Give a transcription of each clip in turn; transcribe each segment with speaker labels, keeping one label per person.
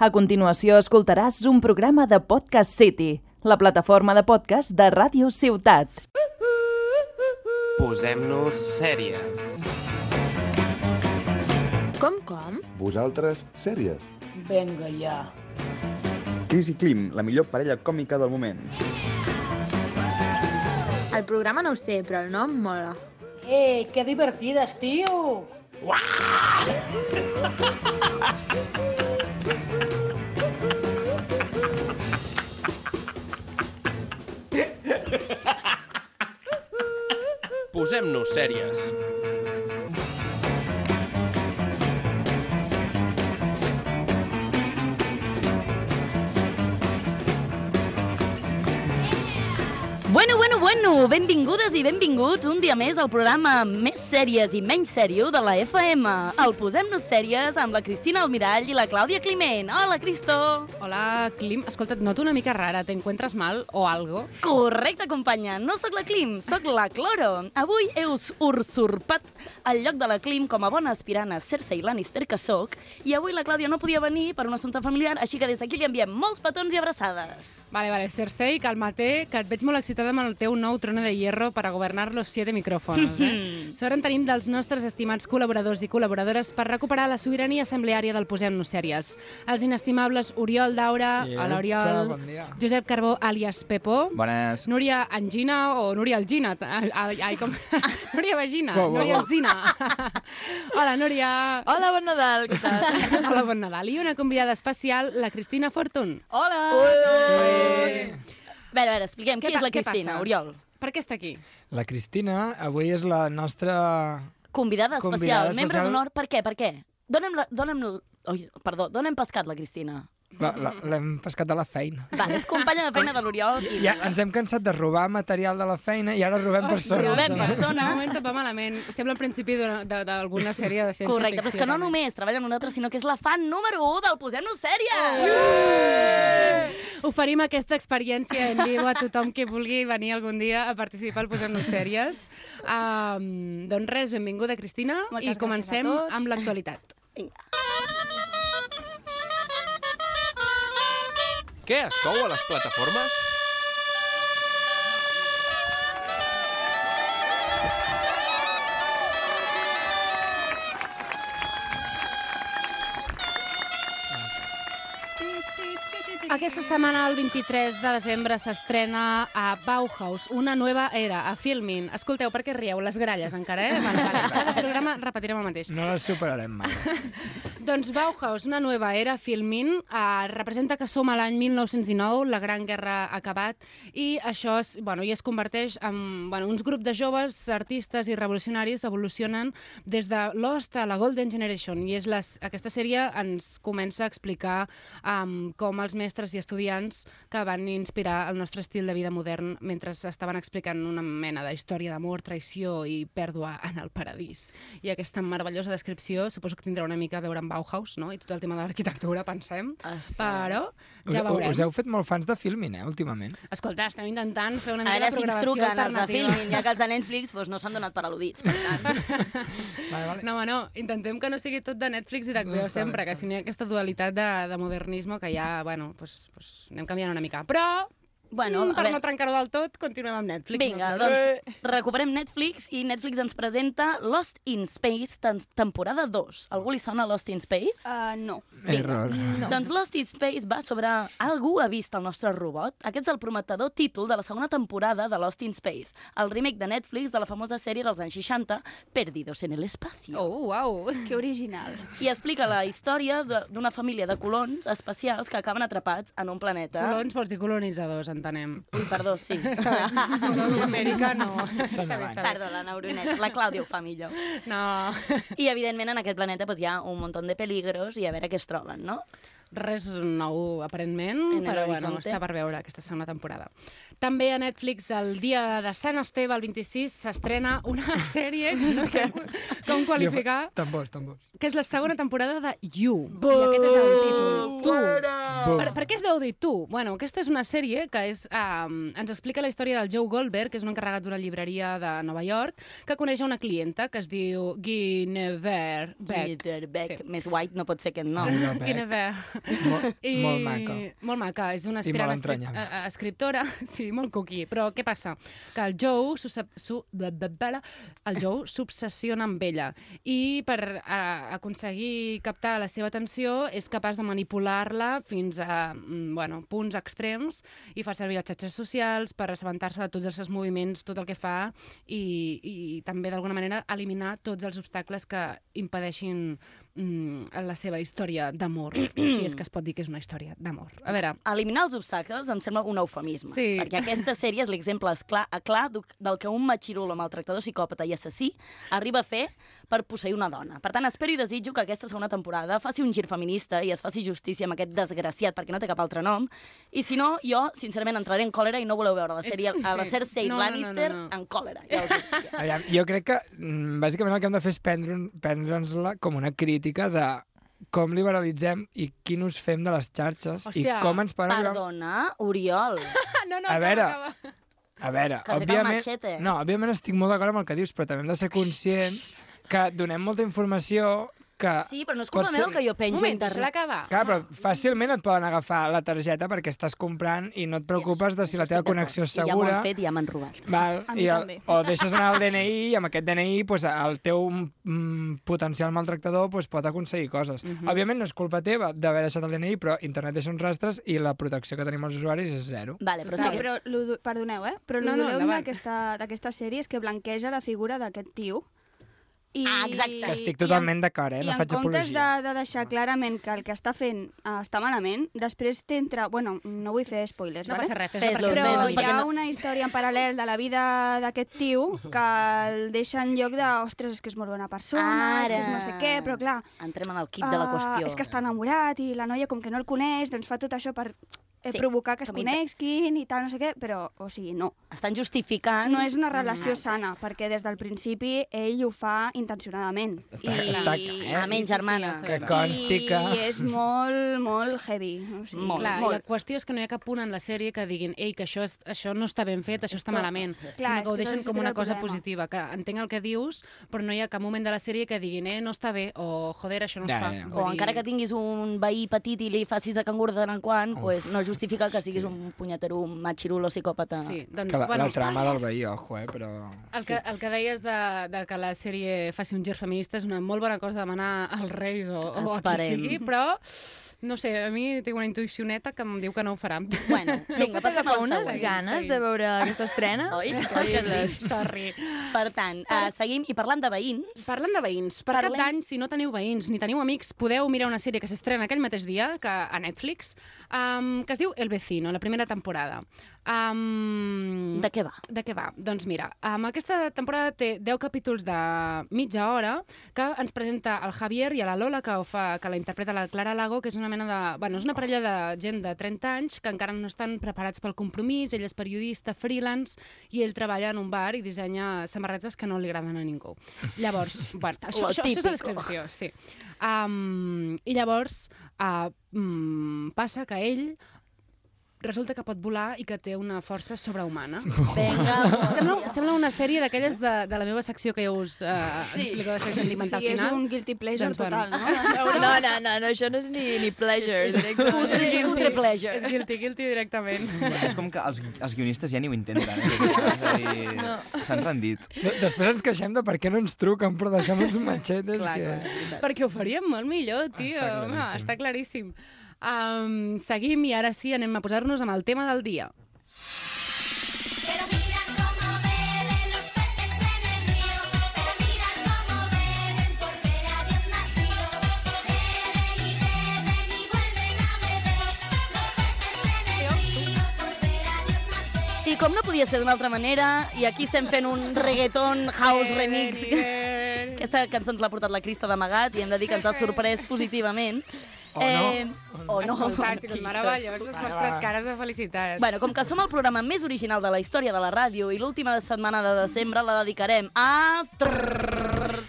Speaker 1: A continuació escoltaràs un programa de Podcast City, la plataforma de podcast de Ràdio Ciutat.
Speaker 2: Posem-nos sèries.
Speaker 3: Com, com?
Speaker 4: Vosaltres, sèries.
Speaker 5: Venga ja.
Speaker 6: Chris i Klim, la millor parella còmica del moment.
Speaker 3: El programa no ho sé, però el nom mola.
Speaker 5: Ei, Eh, que divertides, tio!
Speaker 2: Posem-nos sèries.
Speaker 7: Bueno, bueno, bueno, benvingudes i benvinguts un dia més al programa més sèries i menys sèrio de la FM. El Posem-nos sèries amb la Cristina Almirall i la Clàudia Climent. Hola, Cristo!
Speaker 8: Hola, Clim. Escolta, et noto una mica rara. ¿Te encuentras mal o algo?
Speaker 7: Correcte, companya. No sóc la Clim, sóc la Cloro. Avui he us usurpat el lloc de la Clim com a bona aspirant a Cersei Lannister que sóc i avui la Clàudia no podia venir per un assumpte familiar, així que des d'aquí li enviem molts petons i abraçades.
Speaker 8: Vale, vale, Cersei, calma-te, que et veig molt excitada amb el teu nou trono de hierro per a governar los siete micròfons, eh? Sort en tenim dels nostres estimats col·laboradors i col·laboradores per recuperar la sobirania assembleària del Posem-nos sèries. Els inestimables Oriol Daura,
Speaker 9: Yeah.
Speaker 8: hola
Speaker 9: Hola,
Speaker 8: Oriol,
Speaker 9: bon dia.
Speaker 8: Josep Carbó, alias Pepo,
Speaker 6: Bones.
Speaker 8: Núria Angina o Núria Algina. t- Ai, ai, com... Núria Vagina,
Speaker 9: Wow, wow,
Speaker 8: Núria
Speaker 9: wow.
Speaker 8: Alzina. Hola, Núria.
Speaker 3: Hola, bon Nadal, què tal?
Speaker 8: Hola, bon Nadal. I una convidada especial, la Cristina Fortun.
Speaker 7: Hola! A veure, a veure, expliquem, qui
Speaker 8: pa-
Speaker 7: és la Cristina,
Speaker 8: passa?
Speaker 7: Oriol?
Speaker 8: Per què està aquí?
Speaker 9: La Cristina avui és la nostra...
Speaker 7: Convidada especial,
Speaker 9: Convidada
Speaker 7: membre
Speaker 9: especial.
Speaker 7: d'honor. Per què, per què? Dóna'm, la, dóna'm, l- oi, perdó, dóna'm pescat la Cristina.
Speaker 9: la- la-
Speaker 2: Mm.
Speaker 9: L'hem pescat de la feina.
Speaker 7: Va, és companya de feina de l'Oriol i
Speaker 9: Ja ens hem cansat de robar material de la feina i ara robem persones.
Speaker 7: robem
Speaker 9: també.
Speaker 7: persones.
Speaker 8: De moment se't va malament. Sembla el principi d'una- de- d'alguna sèrie de ciència
Speaker 7: Correcte, però és que no només treballa amb nosaltres, sinó que és la fan número 1 del Posem-nos Sèries!
Speaker 8: Oferim aquesta experiència en viu a tothom que vulgui venir algun dia a participar al Posem-nos Sèries. Um, doncs res, benvinguda, Cristina, i comencem amb l'actualitat.
Speaker 2: Què es cou a les plataformes?
Speaker 8: Aquesta setmana, el 23 de desembre, s'estrena a Bauhaus, una nova era, a Filmin. Escolteu, perquè rieu, les gralles encara, eh? Vale, vale. Cada programa repetirem el mateix.
Speaker 9: No les superarem mai.
Speaker 8: Doncs Bauhaus, una nova era, Filmin, eh, representa que som a l'any 1919, la Gran Guerra ha acabat, i això es, bueno, i es converteix en bueno, uns grups de joves, artistes i revolucionaris evolucionen des de Lost a la Golden Generation, i és les, aquesta sèrie ens comença a explicar um, com els mestres i estudiants que van inspirar el nostre estil de vida modern mentre estaven explicant una mena de història d'amor, traïció i pèrdua en el paradís. I aquesta meravellosa descripció suposo que tindrà una mica a veure amb Bauhaus, no? I tot el tema de l'arquitectura, pensem. Però
Speaker 9: Us,
Speaker 8: ja veurem.
Speaker 9: us heu fet molt fans de Filmin, eh, últimament.
Speaker 8: Escolta, estem intentant fer una
Speaker 7: A
Speaker 8: mica
Speaker 7: veure
Speaker 8: de
Speaker 7: si ens
Speaker 8: programació
Speaker 7: truquen els de
Speaker 8: alternativa. Mm,
Speaker 7: Filmin, ja que els de Netflix doncs, no s'han donat per al·ludits. Per tant,
Speaker 9: Vale, vale.
Speaker 8: No, home, no. Intentem que no sigui tot de Netflix i d'HBO
Speaker 9: No, està
Speaker 8: no
Speaker 9: bé,
Speaker 8: sempre, que
Speaker 9: està
Speaker 8: si no hi ha aquesta dualitat de, de modernisme que ja, bueno, pues, pues, anem canviant una mica. Però,
Speaker 7: bueno, Ah,
Speaker 8: mm,
Speaker 7: a
Speaker 8: per
Speaker 7: veure,
Speaker 8: no trencar-ho del tot, continuem amb Netflix.
Speaker 7: Vinga,
Speaker 8: no?
Speaker 7: doncs recuperem Netflix i Netflix ens presenta Lost in Space, tan- temporada 2. Algú li sona Lost in Space?
Speaker 10: Uh, no.
Speaker 9: Error.
Speaker 7: No. Doncs Lost in Space va sobre algú ha vist el nostre robot. Aquest és el prometedor títol de la segona temporada de Lost in Space, el remake de Netflix de la famosa sèrie dels anys 60, Perdidos en el espacio.
Speaker 8: Oh, uau.
Speaker 10: Que original.
Speaker 7: I explica la història de- d'una família de colons espacials que acaben atrapats en un planeta...
Speaker 8: Colons vols dir colonitzadors, entenem.
Speaker 7: Ui, perdó, sí.
Speaker 8: Amèrica no.
Speaker 7: perdó, la neuroneta. La Clàudia ho fa millor.
Speaker 8: No.
Speaker 7: I, evidentment, en aquest planeta pues, hi ha un munt de peligros i a veure què es troben, no?
Speaker 8: Res nou, aparentment,
Speaker 7: En el
Speaker 8: però bueno,
Speaker 7: horizonte.
Speaker 8: està per veure aquesta segona temporada. També a Netflix, el dia de Sant Esteve, el 26, s'estrena una sèrie, que no sé com qualificar,
Speaker 9: Tambors, tambors.
Speaker 8: que és la segona temporada de You. I aquest és el títol. Tu.
Speaker 9: Bum.
Speaker 8: Per, per què es deu dir tu? Bueno, aquesta és una sèrie que és, um, ens explica la història del Joe Goldberg, que és un encarregat d'una llibreria de Nova York, que coneix a una clienta que es diu Guinevere Beck.
Speaker 7: Beck.
Speaker 8: Sí.
Speaker 7: Sí. Més white no pot ser aquest nom.
Speaker 9: Vinga, Bec.
Speaker 8: Guinevere.
Speaker 9: Molt, molt maca.
Speaker 8: Molt maca, és una
Speaker 9: I
Speaker 8: aspirant
Speaker 9: molt
Speaker 8: escri-
Speaker 9: entranyable.
Speaker 8: a- a- escriptora, sí, molt cuqui. Però què passa? Que el Joe s'obse- su- bla, bla, bla, el Joe s'obsessiona amb ella i per a, aconseguir captar la seva atenció és capaç de manipular-la fins a mm, bueno, punts extrems i fa servir les xarxes socials per assabentar-se de tots els seus moviments, tot el que fa i, i també d'alguna manera eliminar tots els obstacles que impedeixin mm, la seva història d'amor, si és que es pot dir que és una història d'amor. A veure,
Speaker 7: eliminar els obstacles em sembla un eufemisme,
Speaker 8: Sí.
Speaker 7: perquè aquesta sèrie és l'exemple esclar, a clar du- del que un machirulo, maltractador, psicòpata i assassí arriba a fer per posseir una dona. Per tant, espero i desitjo que aquesta segona temporada faci un gir feminista i es faci justícia amb aquest desgraciat, perquè no té cap altre nom, i si no, jo, sincerament, entraré en còlera i no voleu veure la
Speaker 8: És-
Speaker 7: sèrie a la
Speaker 8: sí.
Speaker 7: Cersei
Speaker 8: No, no, no, no,
Speaker 7: Lannister
Speaker 8: no.
Speaker 7: en còlera. Ja us ho dic.
Speaker 9: Aviam, jo crec que mm, bàsicament el que hem de fer és prendre'n- prendre'ns-la com una crítica de com liberalitzem i qui nos fem de les xarxes
Speaker 8: Hòstia,
Speaker 9: i com ens poden arribar...
Speaker 7: Perdona, Oriol.
Speaker 8: Ah, no, no,
Speaker 9: A
Speaker 8: acaba,
Speaker 9: veure.
Speaker 8: acaba.
Speaker 9: A veure,
Speaker 7: Que trec el
Speaker 9: òbviament...
Speaker 7: machete.
Speaker 9: No, òbviament estic molt d'acord amb el que dius, però també hem de ser conscients que donem molta informació que...
Speaker 7: Sí, però no és
Speaker 9: eh,
Speaker 7: culpa
Speaker 9: pot
Speaker 7: meva el que jo
Speaker 8: Un
Speaker 7: penjo a
Speaker 8: moment, deixa-la
Speaker 7: internet.
Speaker 8: acabar.
Speaker 9: Clar, però fàcilment et poden agafar la targeta perquè estàs comprant i no et preocupes de si la teva connexió és
Speaker 7: I ja m'ho
Speaker 9: segura.
Speaker 7: han fet i ja m'han robat.
Speaker 9: Val,
Speaker 10: A mi
Speaker 9: i el,
Speaker 10: també.
Speaker 9: o deixes anar el DNI i amb aquest DNI pues, el teu mm, potencial maltractador pues, pot aconseguir coses. Mm -hmm. Òbviament no és culpa teva d'haver deixat el DNI, però internet deixa uns rastres i la protecció que tenim els usuaris és zero.
Speaker 7: Vale, però
Speaker 10: Però,
Speaker 7: sí
Speaker 10: sí,
Speaker 7: que...
Speaker 10: però lo, do- perdoneu, eh? Però el
Speaker 8: No,
Speaker 10: no,
Speaker 8: no,
Speaker 10: dolent
Speaker 8: endavant.
Speaker 10: d'aquesta d'aquesta sèrie és que blanqueja la figura d'aquest tio. I,
Speaker 7: Ah, exacte.
Speaker 9: Que estic totalment d'acord, eh?
Speaker 10: I
Speaker 9: No
Speaker 10: en
Speaker 9: faig
Speaker 10: comptes de,
Speaker 9: apologia.
Speaker 10: de deixar clarament que el que està fent uh, està malament, després t'entra... Bueno, no vull fer spoilers,
Speaker 8: No
Speaker 10: vale?
Speaker 8: passa res,
Speaker 7: Fes-lo,
Speaker 8: fes-lo.
Speaker 10: Però
Speaker 7: fes-lo,
Speaker 10: hi
Speaker 7: perquè
Speaker 10: ha
Speaker 7: no-
Speaker 10: una història en paral·lel de la vida d'aquest tio que el deixa en lloc de, ostres, és que és molt bona persona, és que és no sé què, però clar...
Speaker 7: Entrem en el kit de la
Speaker 10: ah,
Speaker 7: qüestió.
Speaker 10: És que està enamorat i la noia, com que no el coneix, doncs fa tot això per eh,
Speaker 7: Sí,
Speaker 10: provocar que es
Speaker 7: que m'inter-
Speaker 10: coneixin i tal, no sé què, però, o sigui, no.
Speaker 7: Estan justificant...
Speaker 10: No és una relació sana, perquè des del principi ell ho fa intencionadament.
Speaker 7: eh,
Speaker 9: Està- està clar, eh?
Speaker 7: Amén, germana.
Speaker 8: Sí, sí,
Speaker 9: Que consti que...
Speaker 10: I és molt, molt heavy. O sigui,
Speaker 7: Molt.
Speaker 8: Clar, i la qüestió és que no hi ha cap punt en la sèrie que diguin ei, que això, és, això no està ben fet, això està
Speaker 7: Esto-
Speaker 8: malament,
Speaker 7: Sí.
Speaker 10: Clar,
Speaker 8: sinó
Speaker 10: és
Speaker 8: que ho
Speaker 10: que
Speaker 8: deixen
Speaker 10: això és
Speaker 8: com
Speaker 10: el
Speaker 8: una cosa
Speaker 10: problema.
Speaker 8: positiva, que entenc el que dius, però no hi ha cap moment de la sèrie que diguin eh, no està bé, o joder, això no es
Speaker 9: Ja,
Speaker 8: fa.
Speaker 9: ja, ja.
Speaker 8: Vull
Speaker 7: O
Speaker 8: dir-
Speaker 7: encara que tinguis un veí petit i li facis de cangur de tant en quant, pues, no justifica que siguis un punyetero machirulo psicòpata.
Speaker 8: Sí,
Speaker 9: És
Speaker 8: doncs,
Speaker 9: que la,
Speaker 8: bueno,
Speaker 9: la trama del veí, ojo, eh? Però...
Speaker 8: El que, el que deies de, de que la sèrie faci un gir feminista és una molt bona cosa demanar als Reis o, o a qui
Speaker 7: Esperem.
Speaker 8: sigui, però no sé, a mi tinc una intuïcioneta que em diu que no ho farà.
Speaker 7: Bueno, vinga,
Speaker 8: Pot
Speaker 7: passem
Speaker 8: agafar
Speaker 7: al
Speaker 8: unes
Speaker 7: següent.
Speaker 8: ganes de
Speaker 10: veure aquesta estrena?
Speaker 7: Oi? Oi que sí?
Speaker 8: Sorry.
Speaker 7: Per tant, eh, seguim i parlant de veïns.
Speaker 8: Parlant de veïns, per Parlem...
Speaker 7: Parlem-
Speaker 8: cap d'any, si no teniu veïns ni teniu amics, podeu mirar una sèrie que s'estrena aquell mateix dia que a Netflix, um, que es diu El Vecino, la primera temporada. Um,
Speaker 7: De què va?
Speaker 8: de què va? Doncs mira, um, aquesta temporada té 10 capítols de mitja hora que ens presenta el Javier i a la Lola, que, ho fa, que la interpreta la Clara Lago, que és una mena de... Bueno, és una parella de gent de 30 anys que encara no estan preparats pel compromís, ell és periodista, freelance, i ell treballa en un bar i dissenya samarretes que no li agraden a ningú. Llavors, bueno, això,
Speaker 7: Lo
Speaker 8: això, això és la
Speaker 7: típico.
Speaker 8: descripció, sí. Um, I llavors uh, mm, passa que ell resulta que pot volar i que té una força sobrehumana.
Speaker 7: Vinga,
Speaker 8: Sembla, sembla una sèrie d'aquelles de, de la meva secció que ja us eh,
Speaker 7: Sí.
Speaker 8: explico de la secció
Speaker 10: O
Speaker 8: sentimental
Speaker 10: sigui, és
Speaker 8: final.
Speaker 10: un guilty pleasure
Speaker 8: Doncs,
Speaker 10: doncs,
Speaker 8: bueno.
Speaker 10: total, no?
Speaker 11: No, no, no, no, això no és ni, ni pleasure.
Speaker 7: Putre, putre
Speaker 8: És
Speaker 7: pleasure.
Speaker 8: guilty, guilty directament.
Speaker 12: És com que els, els guionistes ja ni ho intenten. Eh? És a dir, s'han rendit.
Speaker 9: De- Després ens queixem de per què no ens truquen, però deixem uns machetes que...
Speaker 8: Perquè ho faríem molt millor, tio.
Speaker 9: Està
Speaker 8: Està
Speaker 9: claríssim.
Speaker 8: claríssim. Està claríssim. Um, seguim i ara sí, anem a posar-nos amb el tema del dia.
Speaker 7: I com no podia ser d'una altra manera, i aquí estem fent un reggaeton house remix.
Speaker 8: Eh,
Speaker 7: Aquesta cançó ens l'ha portat la Crista d'amagat i hem de dir que ens ha sorprès positivament.
Speaker 9: O no.
Speaker 7: o no.
Speaker 8: Escolta, ha
Speaker 7: Aquí,
Speaker 8: sigut meravellós, les vostres cares de felicitat.
Speaker 7: Bueno, com que som el programa més original de la història de la ràdio i l'última setmana de desembre la dedicarem a... Trrr,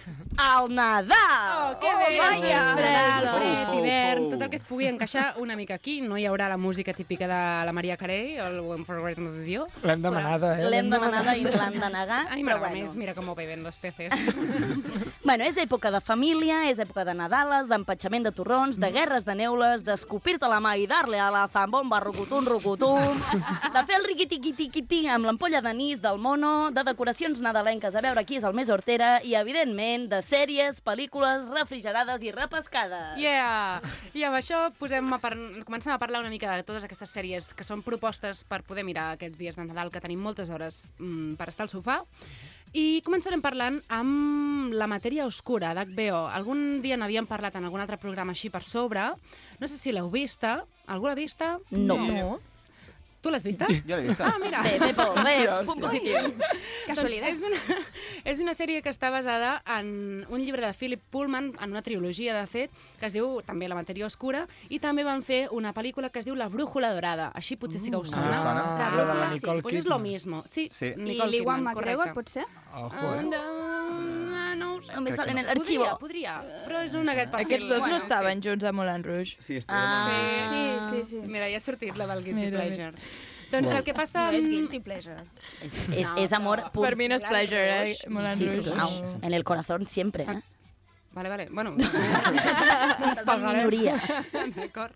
Speaker 7: al Nadal!
Speaker 8: Oh, que
Speaker 7: Oh,
Speaker 8: bé!
Speaker 7: vaja!
Speaker 8: Nadal,
Speaker 7: Sorpresa.
Speaker 8: fred,
Speaker 7: Ho, ho,
Speaker 8: hivern,
Speaker 7: ho.
Speaker 8: tot el que es pugui encaixar una mica aquí. No hi haurà la música típica de la Maria Carey, el When for Christmas is You.
Speaker 9: L'hem demanada, eh?
Speaker 7: L'hem demanada i l'han de negar,
Speaker 8: Ai,
Speaker 7: Ah, però
Speaker 8: m'agrada
Speaker 7: bueno.
Speaker 8: més, mira com ho beben los peces.
Speaker 7: Bueno, és època de família, és època de Nadales, d'empatxament de torrons,
Speaker 12: Mm.
Speaker 7: de guerres de neules, d'escopir-te la mà i dar-li a la zambomba rucutum, rucutum, de fer el riquitiquitiquiti amb l'ampolla d'anís del mono, de decoracions nadalenques a veure qui és el més hortera i, evidentment, de sèries, pel·lícules, refrigerades i repescades.
Speaker 8: Yeah! I amb això posem a par... comencem a parlar una mica de totes aquestes sèries que són propostes per poder mirar aquests dies de Nadal, que tenim moltes hores mm, per estar al sofà. I començarem parlant amb la matèria oscura d'HBO. Algun dia n'havíem parlat en algun altre programa així per sobre. No sé si l'heu vista. Algú l'ha vista?
Speaker 7: No. No.
Speaker 8: Tu l'has vista?
Speaker 12: Jo l'he vista.
Speaker 8: Ah, mira.
Speaker 7: Bé, bé, Pol, bé,
Speaker 12: Hòstia,
Speaker 7: punt
Speaker 12: hòstia.
Speaker 7: positiu.
Speaker 8: Casualitat. Doncs és una, és una sèrie que està basada en un llibre de Philip Pullman, en una trilogia, de fet, que es diu també La matèria oscura, i també van fer una pel·lícula que es diu La brújula dorada. Així potser sí que us
Speaker 9: Mm.
Speaker 8: sona.
Speaker 9: Ah, Ah, la de la sí. Nicole
Speaker 8: pues és lo
Speaker 9: Kidman.
Speaker 8: mismo. Sí,
Speaker 12: Sí.
Speaker 10: I l'Iwan McGregor,
Speaker 8: correcte.
Speaker 10: potser?
Speaker 9: Ojo, eh?
Speaker 8: Ah, no ho sé.
Speaker 12: Crec
Speaker 7: Només sale
Speaker 12: que
Speaker 7: en
Speaker 12: no.
Speaker 7: el arxivo.
Speaker 8: Podria, podria, però és un aquest perfil.
Speaker 11: Aquests dos no
Speaker 8: Bueno,
Speaker 11: estaven junts a Moulin Rouge.
Speaker 12: Sí, està
Speaker 7: Ah.
Speaker 10: Sí, sí, sí.
Speaker 8: Mira, ja ha sortit la del Guilty
Speaker 11: Mira,
Speaker 8: Pleasure. Doncs el que passa...
Speaker 11: No és
Speaker 8: amb-
Speaker 11: guilty pleasure.
Speaker 7: És, és, és amor pur.
Speaker 11: Per mi no és pleasure, eh? Moulin
Speaker 7: Sí,
Speaker 11: Rouge.
Speaker 7: sisplau. En el corazón siempre, eh?
Speaker 8: Vale, vale. Bueno, no ens pagarem.
Speaker 7: minoria.
Speaker 8: D'acord.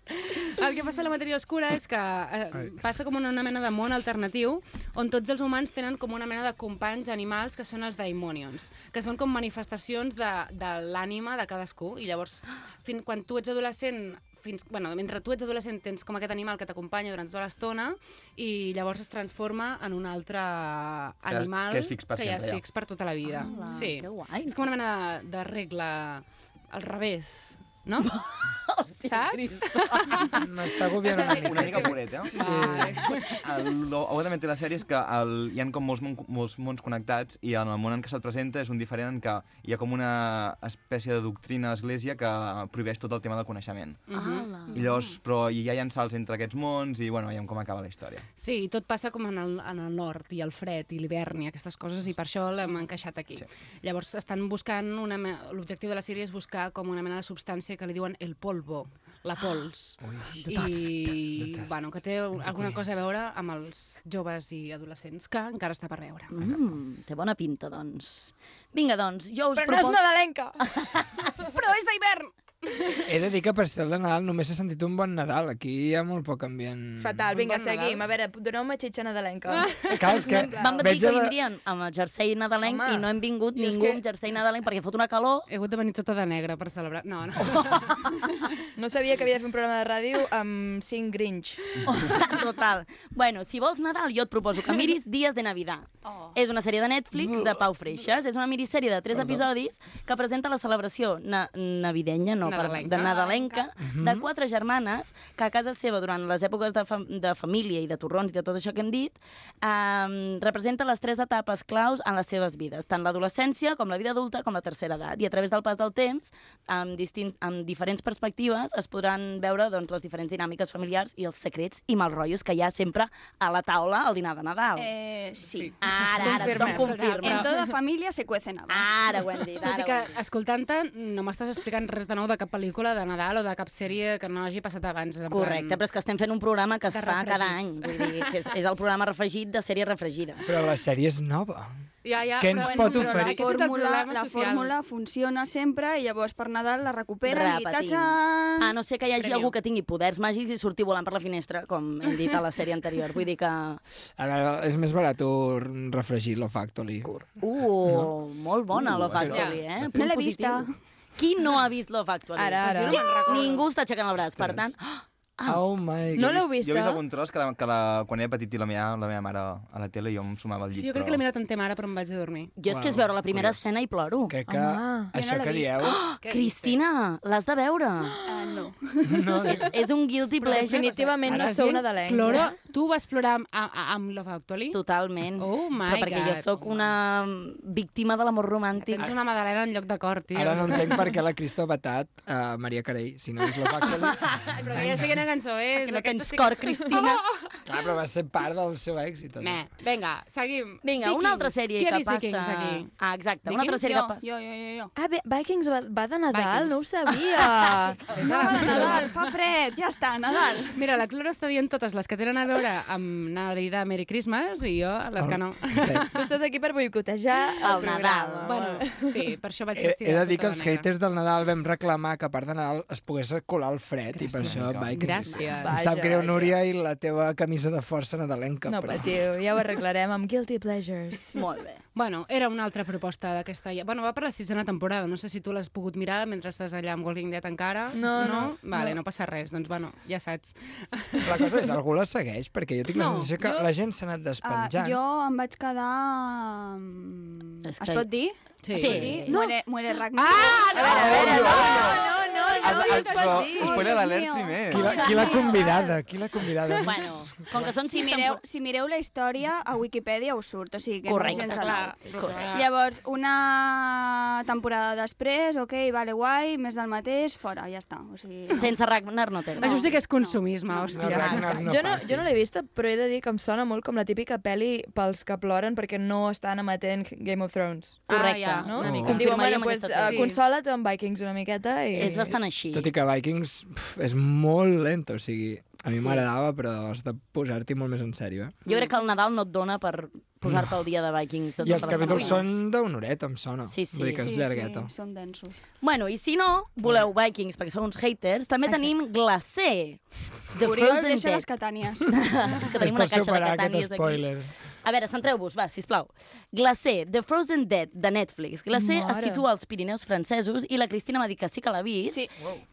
Speaker 8: El que passa a la matèria oscura és que eh, passa com en una mena de món alternatiu on tots els humans tenen com una mena de companys animals que són els daimonions, que són com manifestacions de, de l'ànima de cadascú. I llavors, fin, quan tu ets adolescent fins, bueno, mentre tu ets adolescent tens com aquest animal que t'acompanya durant tota l'estona i llavors es transforma en un altre animal
Speaker 12: que és fix per
Speaker 8: que ja
Speaker 12: sempre,
Speaker 8: és
Speaker 12: ja.
Speaker 8: fix per tota la vida.
Speaker 7: Hola,
Speaker 8: sí.
Speaker 7: Ah, que guai.
Speaker 8: És com una mena de, de regla al revés, no? Saps?
Speaker 9: M'està agobiant una
Speaker 12: Una
Speaker 9: mica.
Speaker 12: mica pobret, eh?
Speaker 8: Vale.
Speaker 12: El, lo, ho he de mentir a la sèrie és que el, hi ha com molts, mon, molts mons connectats i en el món en què se't presenta és un diferent en què hi ha com una espècie de doctrina a l'església que prohibeix tot el tema del coneixement.
Speaker 9: Mm.
Speaker 7: Ala.
Speaker 12: I llavors, però hi ha llançals entre aquests mons i, bueno, veiem com acaba la història.
Speaker 8: Sí, i tot passa com en el, en el nord, i el fred, i l'hivern, i aquestes coses, i per això l'hem encaixat aquí. Sí. Llavors, estan buscant... una me- L'objectiu de la sèrie és buscar com una mena de substància que li diuen el polvo, la pols. Oh, I, bueno, que té alguna cosa a veure amb els joves i adolescents, que encara està per veure.
Speaker 7: Mm, té bona pinta, doncs. Vinga, doncs, jo us
Speaker 11: Però no és
Speaker 7: proposo...
Speaker 11: nadalenca.
Speaker 8: Però és d'hivern!
Speaker 9: He de dir que per ser el de Nadal només he sentit un bon Nadal. Aquí hi ha molt poc ambient.
Speaker 11: Fatal, vinga,
Speaker 8: bon Nadal.
Speaker 11: seguim. A veure, doneu-me xitxa nadalenca.
Speaker 7: És
Speaker 9: Clar, és
Speaker 7: que,
Speaker 9: que
Speaker 7: vam dir
Speaker 9: veig
Speaker 7: que
Speaker 9: a la-
Speaker 7: vindrien amb el jersei nadalenc
Speaker 11: Home.
Speaker 7: i no hem vingut
Speaker 11: Jo és
Speaker 7: ningú
Speaker 11: que-
Speaker 7: amb jersei nadalenc perquè fot una calor.
Speaker 8: He hagut de venir tota de negre per celebrar... No, no.
Speaker 11: No sabia que havia de fer un programa de ràdio amb cinc grinch.
Speaker 7: Total. Bueno, si vols Nadal, jo et proposo que miris Dies de Navidad. Oh. És una sèrie de Netflix de Pau Freixas. És una minissèrie de tres episodis que presenta la celebració na navidenya, no,
Speaker 8: Nadalenca.
Speaker 7: perdó, de nadalenca, de quatre germanes que a casa seva, durant les èpoques de, fam de família i de torrons i de tot això que hem dit, eh, representa les tres etapes claus en les seves vides, tant l'adolescència com la vida adulta com la tercera edat. I a través del pas del temps, amb, distints, amb diferents perspectives, es podran veure doncs, les diferents dinàmiques familiars i els secrets i malrotllos que hi ha sempre a la taula al dinar de Nadal. Eh.
Speaker 10: Eh, sí.
Speaker 7: Ara, ara, tothom
Speaker 11: Confirma.
Speaker 10: En
Speaker 7: confirma.
Speaker 10: toda familia se cuecen
Speaker 8: Ah,
Speaker 10: habas.
Speaker 7: Ara ho hem dit,
Speaker 8: Tot
Speaker 7: ara
Speaker 8: i
Speaker 7: ho
Speaker 8: que,
Speaker 7: hem dit.
Speaker 8: escoltant-te, no m'estàs explicant res de nou de cap pel·lícula de Nadal o de cap sèrie que no hagi passat abans. en
Speaker 7: Correcte,
Speaker 8: plan-
Speaker 7: però és que estem fent un programa que es
Speaker 8: De
Speaker 7: fa cada any.
Speaker 8: refregits.
Speaker 7: Vull dir, que és, és el programa refregit de sèries refregides.
Speaker 9: Però la sèrie és nova.
Speaker 8: Ja, ja,
Speaker 9: Què ens
Speaker 8: però-
Speaker 9: pot
Speaker 8: però
Speaker 9: oferir?
Speaker 10: La
Speaker 8: aquest és el
Speaker 10: fórmula,
Speaker 8: problema
Speaker 10: la
Speaker 8: social.
Speaker 10: fórmula funciona sempre i llavors per Nadal la recuperen i
Speaker 7: Repetim.
Speaker 10: tatxan!
Speaker 8: Ah,
Speaker 7: A no ser que hi hagi
Speaker 8: Prèmio.
Speaker 7: algú que tingui poders màgics i sortir volant per la finestra, com hem dit a la sèrie anterior. Vull dir que... uh,
Speaker 9: A veure, és més barat refregir la Factory.
Speaker 7: Uh, molt bona
Speaker 9: Uh,
Speaker 7: Love Actually,
Speaker 9: ja.
Speaker 7: eh?
Speaker 9: No
Speaker 7: Punt
Speaker 10: l'he
Speaker 7: positiu.
Speaker 10: vista.
Speaker 7: Qui no ha vist Love Actually?
Speaker 11: Ara, ara.
Speaker 7: Doncs jo no me'n recordo. Ningú està aixecant el braç, per tant...
Speaker 9: Oh my god.
Speaker 11: No l'heu
Speaker 12: Jo he
Speaker 11: vista?
Speaker 8: eh?
Speaker 12: vist eh? algun tros que, la, que la, quan era petit i la meva, la meva mare a la tele jo em sumava al llit.
Speaker 8: Sí, jo crec que l'he mirat en tema ara, però em vaig a dormir.
Speaker 7: Jo és que és veure la primera escena i ploro.
Speaker 9: Crec que
Speaker 11: Home,
Speaker 9: això que dieu...
Speaker 7: Cristina, l'has de veure.
Speaker 10: Ah, no.
Speaker 9: No, no.
Speaker 7: És, és un guilty pleasure.
Speaker 11: Definitivament no
Speaker 8: Estàs
Speaker 11: sou
Speaker 8: dient
Speaker 11: nadalencs.
Speaker 8: Ploro, tu tu vas plorar amb, a- a- amb Love Actually?
Speaker 7: Totalment.
Speaker 8: Oh my
Speaker 7: Però perquè
Speaker 8: God.
Speaker 7: jo sóc una víctima de l'amor romàntic.
Speaker 8: Tens una madalena en lloc de cor, tio.
Speaker 9: Ara no entenc per què la Cristo ha vetat a Maria Carey, si no és la Factory.
Speaker 8: Però que ja sé quina cançó és.
Speaker 7: Que no
Speaker 8: aquesta
Speaker 7: tens
Speaker 8: sí Oh!
Speaker 7: cor,
Speaker 8: és-
Speaker 7: Cristina.
Speaker 9: Clar, però va ser part del seu èxit.
Speaker 8: Meh. Vinga, seguim.
Speaker 7: Vinga, una altra sèrie
Speaker 8: Qui ha
Speaker 7: que
Speaker 8: vist
Speaker 7: passa...
Speaker 8: Vikings aquí?
Speaker 7: Ah, exacte, una altra
Speaker 10: Vikings?
Speaker 7: sèrie
Speaker 10: Jo,
Speaker 7: que passa...
Speaker 10: Jo, jo, jo, jo.
Speaker 11: Ah, bé, Vikings va, va de Nadal,
Speaker 8: Vikings.
Speaker 11: no ho sabia.
Speaker 10: No, a Nadal, fa fred, ja està, Nadal.
Speaker 8: Mira, la Clara està dient totes les que tenen a veure amb Navidad, Merry Christmas, i jo les
Speaker 9: Ah,
Speaker 8: que no.
Speaker 11: tu estàs aquí per boicotejar el,
Speaker 7: El
Speaker 11: programa.
Speaker 7: Nadal.
Speaker 11: Ah.
Speaker 8: Bueno, sí, per això vaig
Speaker 9: He,
Speaker 8: vestir
Speaker 9: he de dir que
Speaker 8: tota
Speaker 9: els
Speaker 8: de negre.
Speaker 9: haters del Nadal vam reclamar que a part de Nadal es pogués colar el fred i per això vaig...
Speaker 8: Gràcies.
Speaker 9: Em
Speaker 11: Vaja,
Speaker 9: sap greu,
Speaker 11: vaja.
Speaker 9: Núria, i la teva camisa de força nadalenca.
Speaker 11: No
Speaker 9: però...
Speaker 11: patiu, ja ho arreglarem amb Guilty Pleasures.
Speaker 7: Molt bé.
Speaker 8: Bueno, era una altra proposta d'aquesta... Bueno, va per la sisena temporada, no sé si tu l'has pogut mirar mentre estàs allà amb Walking Dead encara.
Speaker 11: No, no,
Speaker 8: Vale,
Speaker 11: no.
Speaker 8: no, passa res, doncs bueno, ja saps.
Speaker 9: La cosa és, algú la segueix? Perquè jo tinc la
Speaker 8: No,
Speaker 9: sensació que
Speaker 10: jo-
Speaker 9: la gent s'ha anat
Speaker 11: Ah,
Speaker 10: Uh,
Speaker 9: despenjant.
Speaker 10: jo em vaig quedar... mm,
Speaker 7: És
Speaker 10: Es
Speaker 7: que-
Speaker 10: pot dir?
Speaker 8: Sí.
Speaker 10: Es pot dir?
Speaker 7: No.
Speaker 10: Muere, muere Ragnar. Ah,
Speaker 11: A veure, a veure, no, no, no, no, no, no es pot dir.
Speaker 12: Spoiler
Speaker 10: Dios
Speaker 12: alert
Speaker 10: mío.
Speaker 12: primer.
Speaker 9: Qui la- Qui l'ha convidada? Qui l'ha convidada?
Speaker 7: Bueno, com que són
Speaker 10: Si
Speaker 7: sis
Speaker 10: mireu, si mireu la història, a Wikipedia us surt, o sigui que
Speaker 7: Correcte,
Speaker 10: no és gens
Speaker 7: clar.
Speaker 10: nou. Llavors, una temporada després, ok, vale, guai, més del mateix, fora, ja està. O sigui, no.
Speaker 7: Sense Ragnar no té.
Speaker 10: No.
Speaker 8: Això sí que és consumisme,
Speaker 9: No,
Speaker 8: hòstia.
Speaker 9: Ragnar, no
Speaker 11: Jo no,
Speaker 9: parli.
Speaker 11: jo no l'he vista, però he de dir que em sona molt com la típica pel·li pels que ploren perquè no estan emetent Game of Thrones.
Speaker 7: Correcte.
Speaker 8: Ah, ja,
Speaker 11: No?
Speaker 9: una mica.
Speaker 11: Com diuen,
Speaker 7: Confirmaríem
Speaker 11: bueno, pues,
Speaker 7: aquesta
Speaker 11: uh,
Speaker 8: eh,
Speaker 7: tesi.
Speaker 11: consola't amb Vikings una miqueta i...
Speaker 7: És bastant així.
Speaker 9: Tot i que Vikings pf, és molt lenta, o sigui, a mi
Speaker 7: Sí.
Speaker 9: m'agradava, però has de posar-t'hi molt més en sèrio, eh?
Speaker 7: Jo crec que el Nadal no et dona per posar-te al dia de Vikings. De tota
Speaker 9: I els
Speaker 7: totes les
Speaker 9: capítols
Speaker 7: temporades.
Speaker 9: són d'una horeta, em sona.
Speaker 7: Sí, sí.
Speaker 9: Vull dir que és
Speaker 10: sí,
Speaker 9: llargueta.
Speaker 10: sí, són densos.
Speaker 7: Bueno, i si no, voleu Vikings, perquè sou uns haters, també
Speaker 8: Exacte.
Speaker 7: tenim Glacé, The
Speaker 10: Oriol,
Speaker 7: Frozen
Speaker 10: deixa les
Speaker 7: Dead.
Speaker 10: catànies.
Speaker 7: És que
Speaker 9: És
Speaker 7: tenim
Speaker 9: per
Speaker 7: una caixa de
Speaker 9: superar
Speaker 7: catànies
Speaker 9: aquest
Speaker 7: aquí.
Speaker 9: spoiler.
Speaker 7: A veure, centreu-vos, va, sisplau. Glacé, The Frozen Dead, de Netflix. Glacé es
Speaker 11: Mare.
Speaker 7: situa als Pirineus francesos i la Cristina m'ha dit que sí que l'ha vist.
Speaker 10: Sí.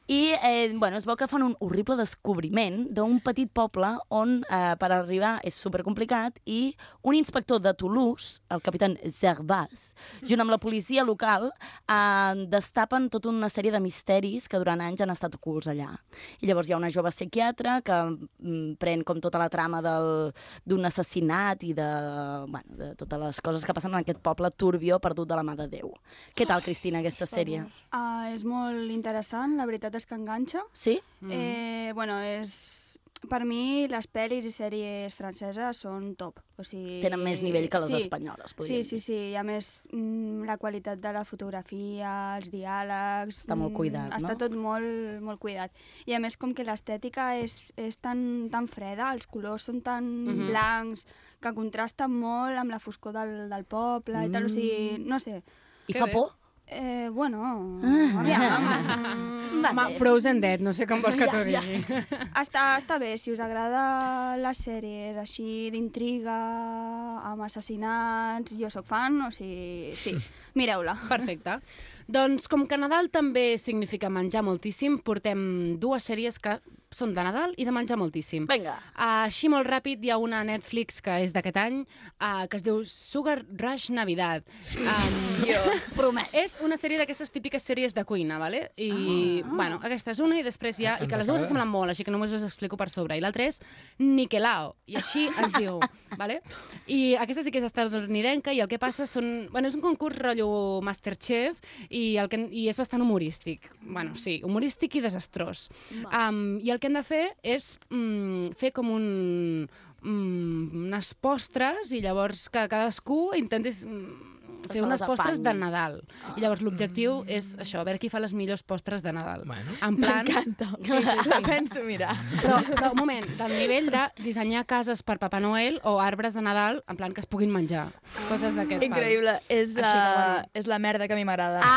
Speaker 7: I, eh, bueno, es veu que fan un horrible descobriment d'un petit poble on eh, per arribar és supercomplicat i un inspector de Toulouse, el capitán Zerbas, junt amb la policia local, eh, destapen tota una sèrie de misteris que durant anys han estat ocults allà. I llavors hi ha una jove psiquiatra que mm, pren com tota la trama del- d'un assassinat i de, bueno, de totes les coses que passen en aquest poble turbio perdut de la mà de Déu. Què tal, Cristina, aquesta sèrie?
Speaker 10: Uh, és molt interessant, la veritat és que enganxa.
Speaker 7: Sí?
Speaker 10: Mm. Eh, bueno, és... Per mi, les pel·lis i sèries franceses són top. O sigui,
Speaker 7: Tenen més nivell que les espanyoles, podríem
Speaker 10: Sí, sí, sí. I a més, mm, la qualitat de la fotografia, els diàlegs...
Speaker 7: Està molt
Speaker 10: mm,
Speaker 7: cuidat, no?
Speaker 10: Està tot molt, molt cuidat. I a més, com que l'estètica és, és tan, tan freda, els colors són tan
Speaker 7: Mm-hmm.
Speaker 8: Mhm.
Speaker 10: blancs, que contrasten molt amb la foscor del, del poble i tal. O sigui, no sé...
Speaker 7: I
Speaker 8: Que
Speaker 7: fa
Speaker 8: bé.
Speaker 7: por?
Speaker 10: Eh, bueno,
Speaker 7: Ah.
Speaker 10: aviam.
Speaker 8: Ma, Frozen Dead, no sé com vols que t'ho digui.
Speaker 10: Està, està bé, si us agrada les sèries així d'intriga, amb assassinats, jo sóc fan, o sigui, sí, mireu-la.
Speaker 8: Perfecte. Doncs com que Nadal també significa menjar moltíssim, portem dues sèries que són de Nadal i de menjar moltíssim.
Speaker 7: Vinga.
Speaker 8: Uh, així molt ràpid hi ha una a Netflix que és d'aquest any uh, que es diu Sugar Rush Navidad. Um,
Speaker 7: Dios. Promet.
Speaker 8: és una sèrie d'aquestes típiques sèries de cuina, vale? I, ah. bueno, aquesta és una i després hi ha... I que les dues se semblen molt, així que només us explico per sobre. I l'altra és Niquelao, i així es diu, vale? I aquesta sí que és estadounidenca i el que passa són... Bueno, és un concurs rotllo Masterchef i, el que, i és bastant humorístic. Bueno, sí, humorístic i desastrós. Um, I el que hem de fer és mm, fer com un mm, unes postres i llavors que cadascú intentis mm,
Speaker 7: Que
Speaker 8: fer
Speaker 7: se
Speaker 8: unes
Speaker 7: les
Speaker 8: postres de
Speaker 7: apanyi.
Speaker 8: Nadal. I llavors l'objectiu és això, a veure qui fa les millors postres de Nadal.
Speaker 9: Bueno.
Speaker 8: En plan...
Speaker 11: M'encanta.
Speaker 8: Sí, sí, sí.
Speaker 11: La penso mirar.
Speaker 8: Però, però, un moment, del nivell de dissenyar cases per Papa Noel o arbres de Nadal, en plan que es puguin menjar. Coses d'aquest pal.
Speaker 11: Increïble. És,
Speaker 8: Així de
Speaker 11: uh,
Speaker 8: bueno.
Speaker 11: és la merda que a mi m'agrada.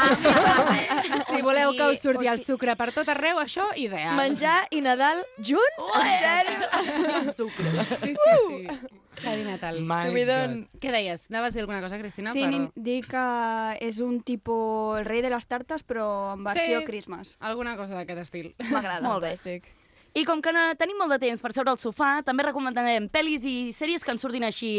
Speaker 8: Si voleu que us surti
Speaker 10: o
Speaker 8: el sucre per tot arreu, això, ideal.
Speaker 11: Menjar i Nadal junts? En sèrio?
Speaker 8: sucre. Sí, sí, sí. Heavy metal.
Speaker 9: My
Speaker 11: Subidon.
Speaker 9: God.
Speaker 8: Què deies? Anaves a dir alguna cosa, Cristina?
Speaker 10: sí,
Speaker 8: Perdó.
Speaker 10: nin- dic que és un tipus el rei de les tartes, però en versió
Speaker 8: Sí.
Speaker 10: Christmas.
Speaker 8: Alguna cosa d'aquest estil.
Speaker 10: M'agrada.
Speaker 7: Molt bé.
Speaker 11: Fantàstic.
Speaker 7: I com que no tenim molt de temps per seure al sofà, també recomanarem pel·lis i sèries que ens surtin així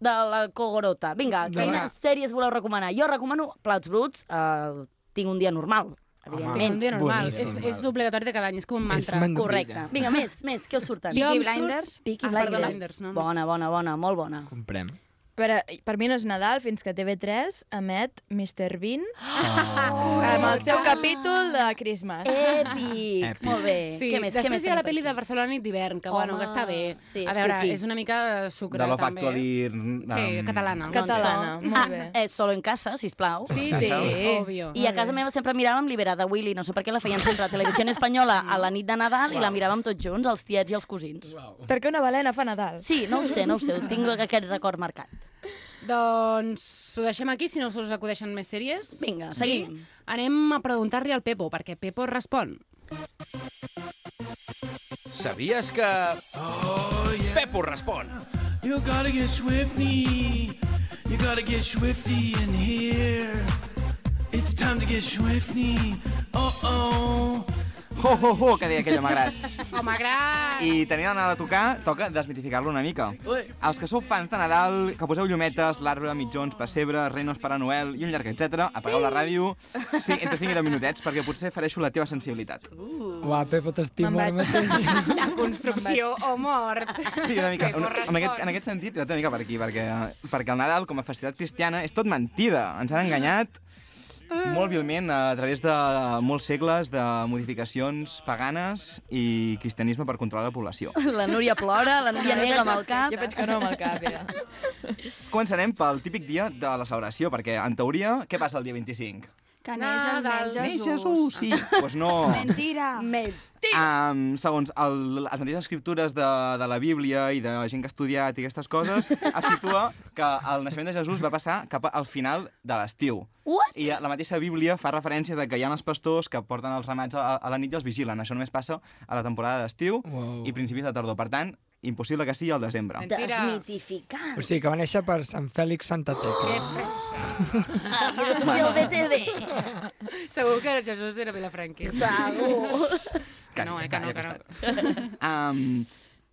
Speaker 7: de la cogorota. Vinga,
Speaker 9: De la-
Speaker 7: quines sèries voleu recomanar? Jo recomano Plats Bruts, eh, tinc un dia normal. evidentment.
Speaker 8: un dia normal. És,
Speaker 7: boníssim.
Speaker 8: és obligatori de cada any, és com un mantra.
Speaker 7: Correcte.
Speaker 9: eh?
Speaker 7: Vinga, més, més, què us surten?
Speaker 8: Jo em
Speaker 7: Peaky
Speaker 8: surt-
Speaker 7: Blinders? Peaky
Speaker 8: Ah,
Speaker 7: Blinders.
Speaker 8: perdona. Blinders, no, no.
Speaker 7: Bona, bona, bona, molt bona.
Speaker 9: Comprem.
Speaker 11: Per, a- per mi no és Nadal fins que TV3 emet Mr. Bean amb el seu capítol de Christmas.
Speaker 7: Èpic! Èpic. Molt bé.
Speaker 8: Sí,
Speaker 7: Què més? Què
Speaker 8: després
Speaker 7: més
Speaker 8: hi ha la
Speaker 7: tenim
Speaker 8: pel·li de Barcelona nit d'hivern, que, bueno,
Speaker 7: Home,
Speaker 8: que està bé.
Speaker 7: sí,
Speaker 8: a
Speaker 7: és
Speaker 8: veure,
Speaker 7: cookie.
Speaker 8: és una mica sucre,
Speaker 12: De Love
Speaker 8: també.
Speaker 12: Actually...
Speaker 8: Sí,
Speaker 12: um,
Speaker 8: catalana.
Speaker 7: Catalana,
Speaker 8: non-stop.
Speaker 7: molt bé. Ah, eh, solo en casa, sisplau.
Speaker 8: Sí, sí, obvio.
Speaker 7: I a casa meva sempre miràvem Liberada Willy, no sé per què la feien sempre a Televisió Espanyola a la nit de Nadal i la miràvem tots junts, els tiets i els cosins.
Speaker 11: Per què una balena fa Nadal?
Speaker 7: Sí, no ho sé, no ho sé, tinc aquest record marcat.
Speaker 8: Doncs ho deixem aquí, si no us acudeixen més sèries.
Speaker 7: Vinga, seguim.
Speaker 8: Sí? Anem a preguntar-li al Pepo, perquè Pepo respon.
Speaker 2: Sabies que... Oh, yeah. Pepo respon.
Speaker 13: You gotta get swifty. You gotta get swifty in here. It's time to get swifty. Oh oh.
Speaker 12: Ho, ho, ho, que deia aquella Magràs.
Speaker 8: Home, gran!
Speaker 12: I tenint el Nadal a tocar, toca desmitificar-lo una mica. Els que sou fans de Nadal, que poseu llumetes, l'arbre, mitjons, pessebre, renos per a Noel i un llarg, etc. Apagueu
Speaker 9: Sí.
Speaker 12: la ràdio sí, entre 5 i 10 minutets, perquè potser fareixo la teva sensibilitat.
Speaker 9: Uà, Pepo, t'estimo
Speaker 12: Me'n
Speaker 9: ara mateix.
Speaker 8: La construcció o mort.
Speaker 12: Sí, una mica.
Speaker 8: Pepo
Speaker 12: Una, en,
Speaker 8: respon.
Speaker 12: aquest, en aquest sentit, una mica per aquí, perquè, perquè el Nadal, com a festivitat cristiana, és tot mentida. Ens han enganyat molt vilment a través de molts segles de modificacions paganes i cristianisme per controlar la població.
Speaker 7: La Núria plora, la Núria
Speaker 11: Jo
Speaker 7: nega amb
Speaker 11: penso-
Speaker 7: el cap.
Speaker 11: jo penso que no amb el cap, ja.
Speaker 12: Començarem pel típic dia de la celebració, perquè, en teoria, què passa el dia 25?
Speaker 10: Que neix el nen
Speaker 12: Nadal. Neix
Speaker 10: Jesús.
Speaker 12: Jesús, sí. Doncs pues no.
Speaker 10: Mentira.
Speaker 12: Um, segons el, les mateixes escriptures de, de la Bíblia i de gent que ha estudiat i aquestes coses, es situa que el naixement de Jesús va passar cap al final de l'estiu.
Speaker 7: What?
Speaker 12: I la mateixa Bíblia fa referències a que hi ha els pastors que porten els ramats a, a la nit i els vigilen. Això només passa a la temporada d'estiu i principis de tardor. Per tant, impossible que sigui al desembre.
Speaker 7: Desmitificant.
Speaker 9: O sigui, que va néixer per Sant Fèlix Santa Tecla.
Speaker 7: Ah, però és un
Speaker 8: Bueno.
Speaker 7: dia al BTV.
Speaker 8: Segur que Jesús era Vilafranqui.
Speaker 7: Segur.
Speaker 12: Que
Speaker 8: no, eh, que no, que no.
Speaker 12: Um,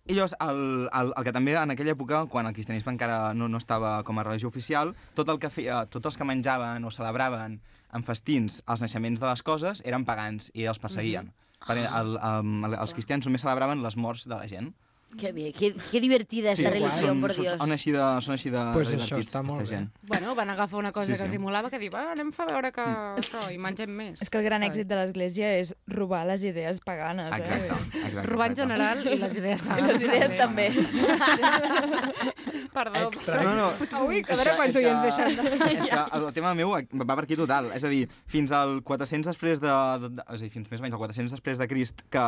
Speaker 12: i llavors, el, el, el que també en aquella època, quan el cristianisme encara no, no estava com a religió oficial, tot el que feia, tots els que menjaven o celebraven en festins els naixements de les coses eren pagans i els perseguien. Mm
Speaker 7: Mm-hmm.
Speaker 12: -hmm. Perquè
Speaker 7: Ah.
Speaker 12: el, el, el, els cristians només celebraven les morts de la gent.
Speaker 7: Que bé, que, que divertida esta religió,
Speaker 12: són,
Speaker 7: por
Speaker 12: són,
Speaker 7: Dios.
Speaker 12: són, així de, són així de
Speaker 9: Pues
Speaker 12: de
Speaker 9: això
Speaker 12: divertits,
Speaker 9: està molt
Speaker 12: aquesta
Speaker 9: bé.
Speaker 12: gent.
Speaker 8: Bueno, van agafar una cosa
Speaker 12: Sí,
Speaker 8: sí, sí. que
Speaker 12: sí.
Speaker 8: els hi molava, que dir, va, anem a veure que... Això, i mengem més.
Speaker 11: És que el gran èxit de l'Església és robar les idees paganes.
Speaker 12: Exacte,
Speaker 11: Eh?
Speaker 12: exacte,
Speaker 8: Robar en general i les idees
Speaker 11: I les idees també.
Speaker 8: Perdó.
Speaker 12: No, no.
Speaker 8: Avui quedaré
Speaker 12: És
Speaker 8: quants
Speaker 12: que-
Speaker 8: oients deixant de...
Speaker 12: És que el tema meu va per aquí total. És a dir, fins al 400 després de... de, de és a dir, fins més o menys al 400 després de Crist, que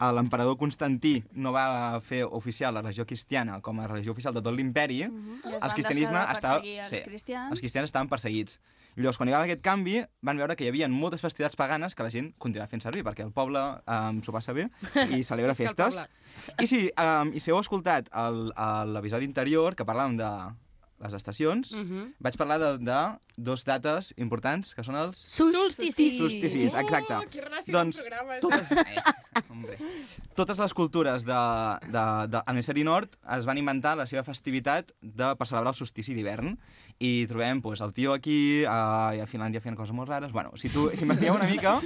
Speaker 12: eh, l'emperador Constantí no va fer oficial la religió cristiana com a religió oficial de tot l'imperi,
Speaker 10: I
Speaker 12: uh
Speaker 10: es
Speaker 12: -huh.
Speaker 10: van
Speaker 12: el cristianisme
Speaker 10: deixar de
Speaker 12: estava...
Speaker 10: perseguir els cristians.
Speaker 12: els cristians estaven perseguits. I llavors, quan hi va haver aquest canvi, van veure que hi havia moltes festivitats paganes que la gent continuava fent servir, perquè el poble um, s'ho passa bé i celebra
Speaker 14: És que el
Speaker 12: festes. I sí, um, i si heu escoltat el- a l'episodi interior, que parlàvem de les estacions,
Speaker 14: Mhm.
Speaker 12: vaig parlar de, de dos dates importants, que són els...
Speaker 7: Solsticis.
Speaker 12: Solsticis, exacte.
Speaker 14: Oh, que relació
Speaker 12: doncs,
Speaker 14: amb programes.
Speaker 12: totes, eh, hombre, totes les cultures de, de, de l'hemisferi nord es van inventar la seva festivitat de, per celebrar el solstici d'hivern. I trobem pues, el tio aquí, a, i a Finlàndia fent coses molt rares. Bueno, si, tu, si m'estigueu una mica,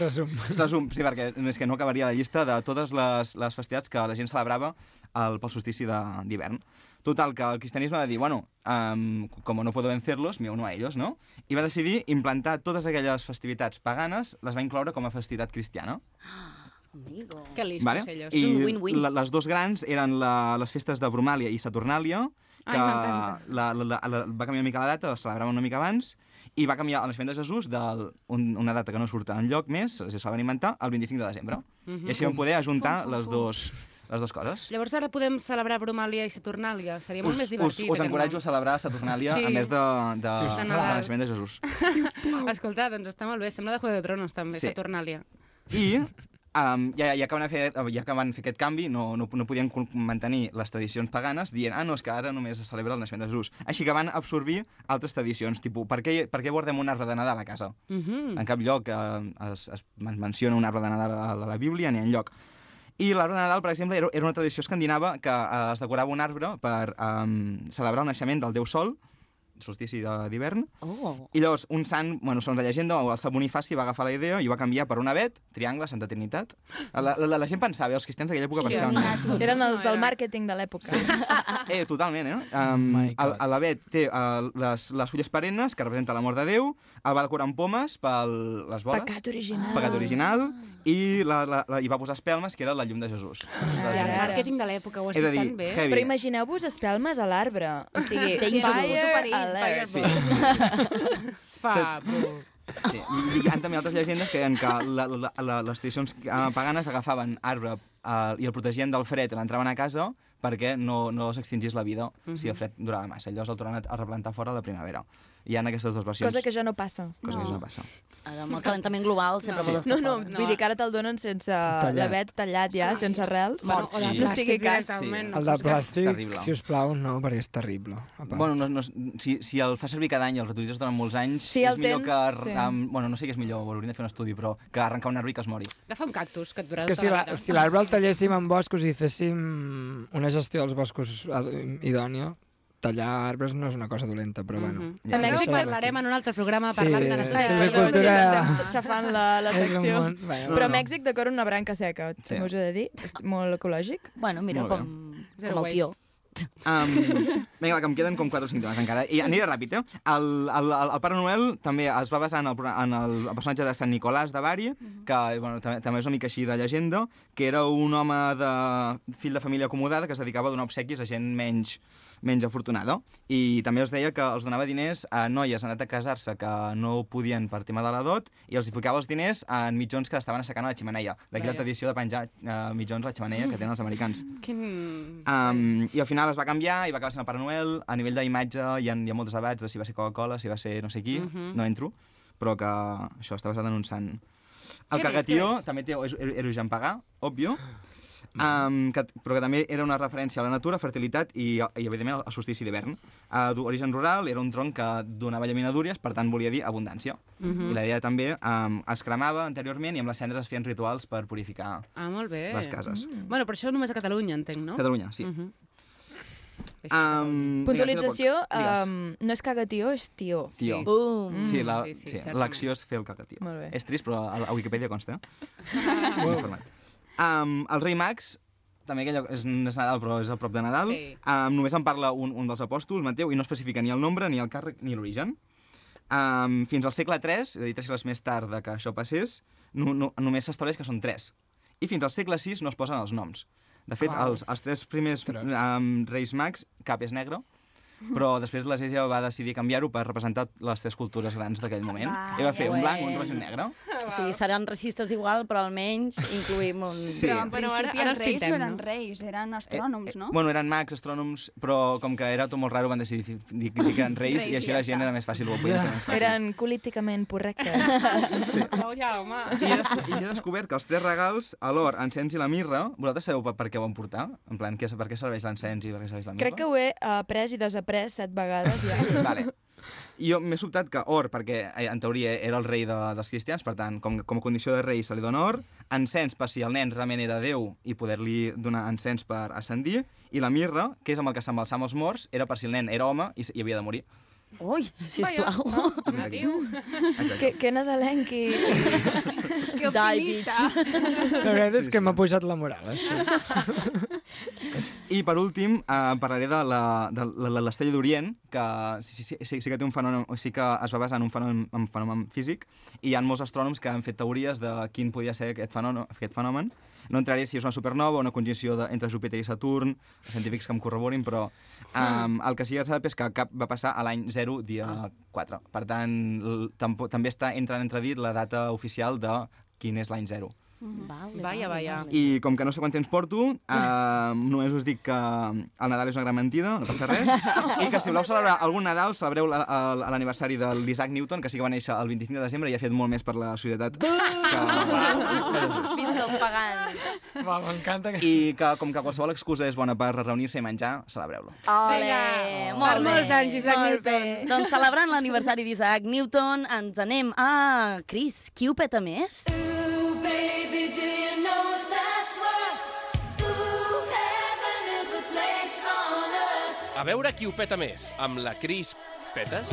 Speaker 9: Resum.
Speaker 12: Resum, sí, perquè és que no acabaria la llista de totes les, les festivitats que la gent celebrava el, pel solstici de- d'hivern. Total, que el cristianisme va dir, bueno, um, com no puedo vencerlos, me uno a ellos, no? I va decidir implantar totes aquelles festivitats paganes, les va incloure com a festivitat cristiana.
Speaker 7: Amigo.
Speaker 8: Que listos
Speaker 12: vale?
Speaker 8: ellos.
Speaker 12: I
Speaker 8: És un win-win.
Speaker 12: la- les dos grans eren la, les festes de Bromàlia i Saturnàlia,
Speaker 8: Ai,
Speaker 12: que la,
Speaker 8: m'encanta.
Speaker 12: la, la, la, va canviar una mica la data, la celebraven una mica abans, i va canviar el naixement de Jesús d'una data que no surt en lloc més, se la van inventar, el 25 de desembre.
Speaker 8: Mhm.
Speaker 12: I així van poder ajuntar les, dos, les dues coses.
Speaker 8: Llavors ara podem celebrar Bromàlia i Saturnàlia. Seria
Speaker 12: Us,
Speaker 8: molt més
Speaker 12: us,
Speaker 8: divertit.
Speaker 12: us encoratjo a celebrar Saturnàlia
Speaker 8: Sí.
Speaker 12: a més de, de,
Speaker 8: Sí, us
Speaker 12: de,
Speaker 8: plau.
Speaker 12: naixement de Jesús.
Speaker 8: celebrar... Escolta, doncs està molt bé. Sembla de Juego de Tronos, també,
Speaker 12: Sí.
Speaker 8: sí. Saturnàlia.
Speaker 12: I um, ja, ja, que van fer, ja que van fer aquest canvi, no, no, no podien con- mantenir les tradicions paganes, dient, ah, no, és que ara només es celebra el naixement de Jesús. Així que van absorbir altres tradicions, tipus, per què, per què guardem un arbre de Nadal a casa?
Speaker 8: Mhm.
Speaker 12: En cap lloc eh, es, es men- menciona un arbre de Nadal a la, a la Bíblia, ni enlloc. I l'arbre de Nadal, per exemple, era, era una um, tradició escandinava que eh, es decorava un arbre per eh, celebrar el naixement del déu Sol, solstici de- d'hivern.
Speaker 7: Oh.
Speaker 12: I llavors, un sant, bueno, segons la llegenda, o el Sant Bonifaci va agafar la idea i ho va canviar per un abet, triangle, Santa Trinitat. La, la, la, la gent pensava, els cristians d'aquella època pensaven...
Speaker 11: Eren els del màrqueting de l'època. Sí.
Speaker 12: Eh, totalment, eh? Um, oh a l'abet té uh, les, les fulles perennes, que representa l'amor de Déu, el va decorar amb pomes per les boles.
Speaker 11: Pecat original.
Speaker 12: Pecat original. I la, la, la, hi va posar espelmes, que era la llum de Jesús.
Speaker 11: Ah, Ara, ara.
Speaker 8: Màrqueting de l'època, ho has
Speaker 12: He de
Speaker 8: dit
Speaker 12: dir,
Speaker 8: tan bé.
Speaker 12: heavy.
Speaker 11: Però imagineu-vos espelmes a l'arbre. O sigui,
Speaker 8: Danger.
Speaker 11: fire alert.
Speaker 12: Sí. Sí. I, i hi ha també altres llegendes que deien que la, la, la, les tradicions eh, paganes agafaven arbre eh, i el protegien del fred i l'entraven a casa perquè no, no els extingís la vida
Speaker 11: Mhm.
Speaker 12: si el fred durava massa. Llavors el tornaven a, a replantar fora a la primavera. Hi ha aquestes dues versions.
Speaker 11: Cosa que ja no passa.
Speaker 12: Cosa que ja no passa.
Speaker 7: Ara, Amb el calentament global sempre
Speaker 12: No.
Speaker 7: no. vol estar
Speaker 11: No, no,
Speaker 7: fora.
Speaker 11: vull dir que ara te'l donen sense
Speaker 9: Tallat.
Speaker 11: l'abet tallat ja, sense arrels.
Speaker 12: Bueno, o de
Speaker 11: no sigui
Speaker 12: plàstic
Speaker 11: cas.
Speaker 12: directament,
Speaker 9: El del
Speaker 12: És
Speaker 9: plàstic,
Speaker 12: terrible.
Speaker 9: si us plau, no, perquè és terrible. Apa.
Speaker 12: Bueno, no, no, si, si el fa servir cada any i els reutilitzes durant molts anys,
Speaker 9: Sí,
Speaker 12: és
Speaker 9: el
Speaker 12: millor
Speaker 9: temps,
Speaker 12: que... ar-
Speaker 9: sí.
Speaker 12: am- bueno, no sé què és millor, ho hauríem de fer un estudi, però que arrencar un arbre i que es mori.
Speaker 8: Agafa un cactus, que et durarà
Speaker 9: És que si
Speaker 8: tota la
Speaker 9: la-
Speaker 8: vida.
Speaker 9: si l'arbre el talléssim en boscos i féssim una gestió dels boscos ad- idònia, tallar arbres no és una cosa dolenta, però bueno. Mm
Speaker 8: De l'èxit parlarem Mhm. en un altre programa
Speaker 9: Sí,
Speaker 8: parlant de
Speaker 9: sí,
Speaker 8: naturalesa.
Speaker 9: sí, cultura-
Speaker 11: Estem xafant la, la
Speaker 9: És un
Speaker 11: secció.
Speaker 9: món- Bueno,
Speaker 11: Però
Speaker 9: no.
Speaker 11: Mèxic d'acord amb una branca seca,
Speaker 12: Sí.
Speaker 11: sí. m'ho us he de dir. És molt ecològic.
Speaker 7: Bueno, mira,
Speaker 12: Molt bé.
Speaker 7: com, com el tio.
Speaker 12: Um, vinga, va, que em queden com 4 o 5 temes encara. I aniré ràpid, eh? El, el, el, el Pare Noel també es va basar en el, pro- en el personatge de Sant Nicolàs de Bari, que bueno, també, també és una mica així de llegenda, que era un home de fill de família acomodada que es dedicava a donar obsequis a gent menys, menys afortunada. I també els deia que els donava diners a noies anat a casar-se que no podien per tema de la dot i els hi ficava els diners en mitjons que estaven assecant a la ximeneia. D'aquí la
Speaker 8: Vaja.
Speaker 12: tradició de penjar eh, mitjons a la ximeneia que tenen els americans.
Speaker 8: Quin...
Speaker 12: Um, I al final es va canviar i va acabar sent el Pare Noel. A nivell d'imatge hi, ha, hi ha molts debats de si va ser Coca-Cola, si va ser no sé qui,
Speaker 8: Mhm.
Speaker 12: no entro, però que això està basat en un sant. El
Speaker 8: Què més, què
Speaker 12: cagatió
Speaker 8: més?
Speaker 12: també té és- era era Jean Pagà, òbvio, um, que, però que també era una referència a la natura, fertilitat i, i evidentment, al solstici d'hivern. Uh, D'origen rural, era un tronc que donava llaminadúries, per tant, volia dir abundància.
Speaker 8: Mhm.
Speaker 12: I la idea també um, es cremava anteriorment i amb les cendres es feien rituals per purificar
Speaker 8: Ah, molt bé.
Speaker 12: Les cases.
Speaker 8: Mm. Bueno, però això només a Catalunya, entenc, no?
Speaker 12: Catalunya, sí.
Speaker 8: Mhm.
Speaker 12: Um,
Speaker 11: Puntualització,
Speaker 12: Digues.
Speaker 11: um, no és cagatió, és tió.
Speaker 12: Tio.
Speaker 11: Bum.
Speaker 12: Sí, la,
Speaker 11: Sí,
Speaker 12: sí,
Speaker 11: sí,
Speaker 12: sí,
Speaker 11: certament.
Speaker 12: l'acció és fer el caca, tio.
Speaker 11: Molt bé.
Speaker 12: És trist, però a, a Wikipedia consta. Informat. um, el rei Max, també aquella, és, no és Nadal, però és a prop de Nadal, sí.
Speaker 14: Sí.
Speaker 12: um, només en parla un, un dels apòstols, Mateu, i no especifica ni el nombre, ni el càrrec, ni l'origen. Um, fins al segle III, és a dir, tres segles més tard de que això passés, no, no, només s'estableix que són tres. I fins al segle VI no es posen els noms. De fet,
Speaker 2: Uau.
Speaker 12: els, els tres primers um, reis mags, cap és negre, però després l'Església va decidir canviar-ho per representar les tres cultures grans d'aquell moment. I va fer un blanc, un ros i un negre.
Speaker 7: O sigui, seran racistes igual, però almenys incluïm un...
Speaker 12: Sí. Però-
Speaker 10: Però ara, ara els reis no eren reis, eren astrònoms, no?
Speaker 12: eh, Bueno, eren mags, astrònoms, però com que era tot molt raro van decidir fi- dir, dir que eren reis,
Speaker 11: Reis,
Speaker 12: i així
Speaker 11: ja
Speaker 12: la gent
Speaker 11: està.
Speaker 12: era més fàcil, ho podien fer més fàcil.
Speaker 11: Eren políticament correctes.
Speaker 8: Oh, ja, home.
Speaker 12: I he descobert que els tres regals, l'or, encens i la mirra, vosaltres sabeu per, per què ho van portar? En plan, què, per què serveix l'encens i per què serveix la mirra?
Speaker 11: Crec que ho he eh, après i desaprès set vegades ja.
Speaker 12: Vale. Jo m'he sobtat que or, perquè eh, en teoria era el rei de, dels cristians, per tant, com, com a condició de rei se li dona or, encens per si el nen realment era Déu i poder-li donar encens per ascendir, i la mirra, que és amb el que s'embalsam els morts, era per si el nen era home i, s- i havia de morir.
Speaker 7: Ui, sisplau.
Speaker 11: que, que nadalenqui. que optimista.
Speaker 9: La veritat és que m'ha pujat la moral, eh? això.
Speaker 12: I per últim, eh, parlaré de la- de la- de l'Estella d'Orient, que sí, sí, sí, sí que té un fenomen, o sí que es va basar en un fenomen, en un fenomen físic, i hi ha molts astrònoms que han fet teories de quin podia ser aquest fenomen. Aquest fenomen. No entraré si és una supernova o una conjunció de, entre Júpiter i Saturn, científics que em corroborin, però um, el que sí que s'ha és que cap va passar a l'any 0, dia 4. Per tant, l- tampo- també està entrant entredit la data oficial de quin és l'any 0.
Speaker 7: Vale,
Speaker 15: Vaya, vaya.
Speaker 12: I com que no sé quant temps porto, eh, només us dic que el Nadal és una gran mentida, no passa res, i que si voleu celebrar algun Nadal, celebreu la- el- l'aniversari de l'Isaac Newton, que sí que va néixer el 25 de desembre i ha fet molt més per la societat.
Speaker 15: Visca els pagans.
Speaker 9: Va, m'encanta. Que...
Speaker 12: I que com que qualsevol excusa és bona per reunir-se i menjar, celebreu-lo.
Speaker 8: Ah.
Speaker 7: Ole, molt
Speaker 10: Eh,
Speaker 15: Oh. Per
Speaker 7: bé.
Speaker 15: molts anys, Isaac
Speaker 7: molt
Speaker 15: Newton.
Speaker 7: bé. Doncs celebrant l'aniversari d'Isaac Newton, ens anem a Chris. Qui ho peta més?
Speaker 15: Baby, do you know what that's worth? Ooh, heaven is a place on earth.
Speaker 2: A veure qui ho peta més, amb la Cris crispetes?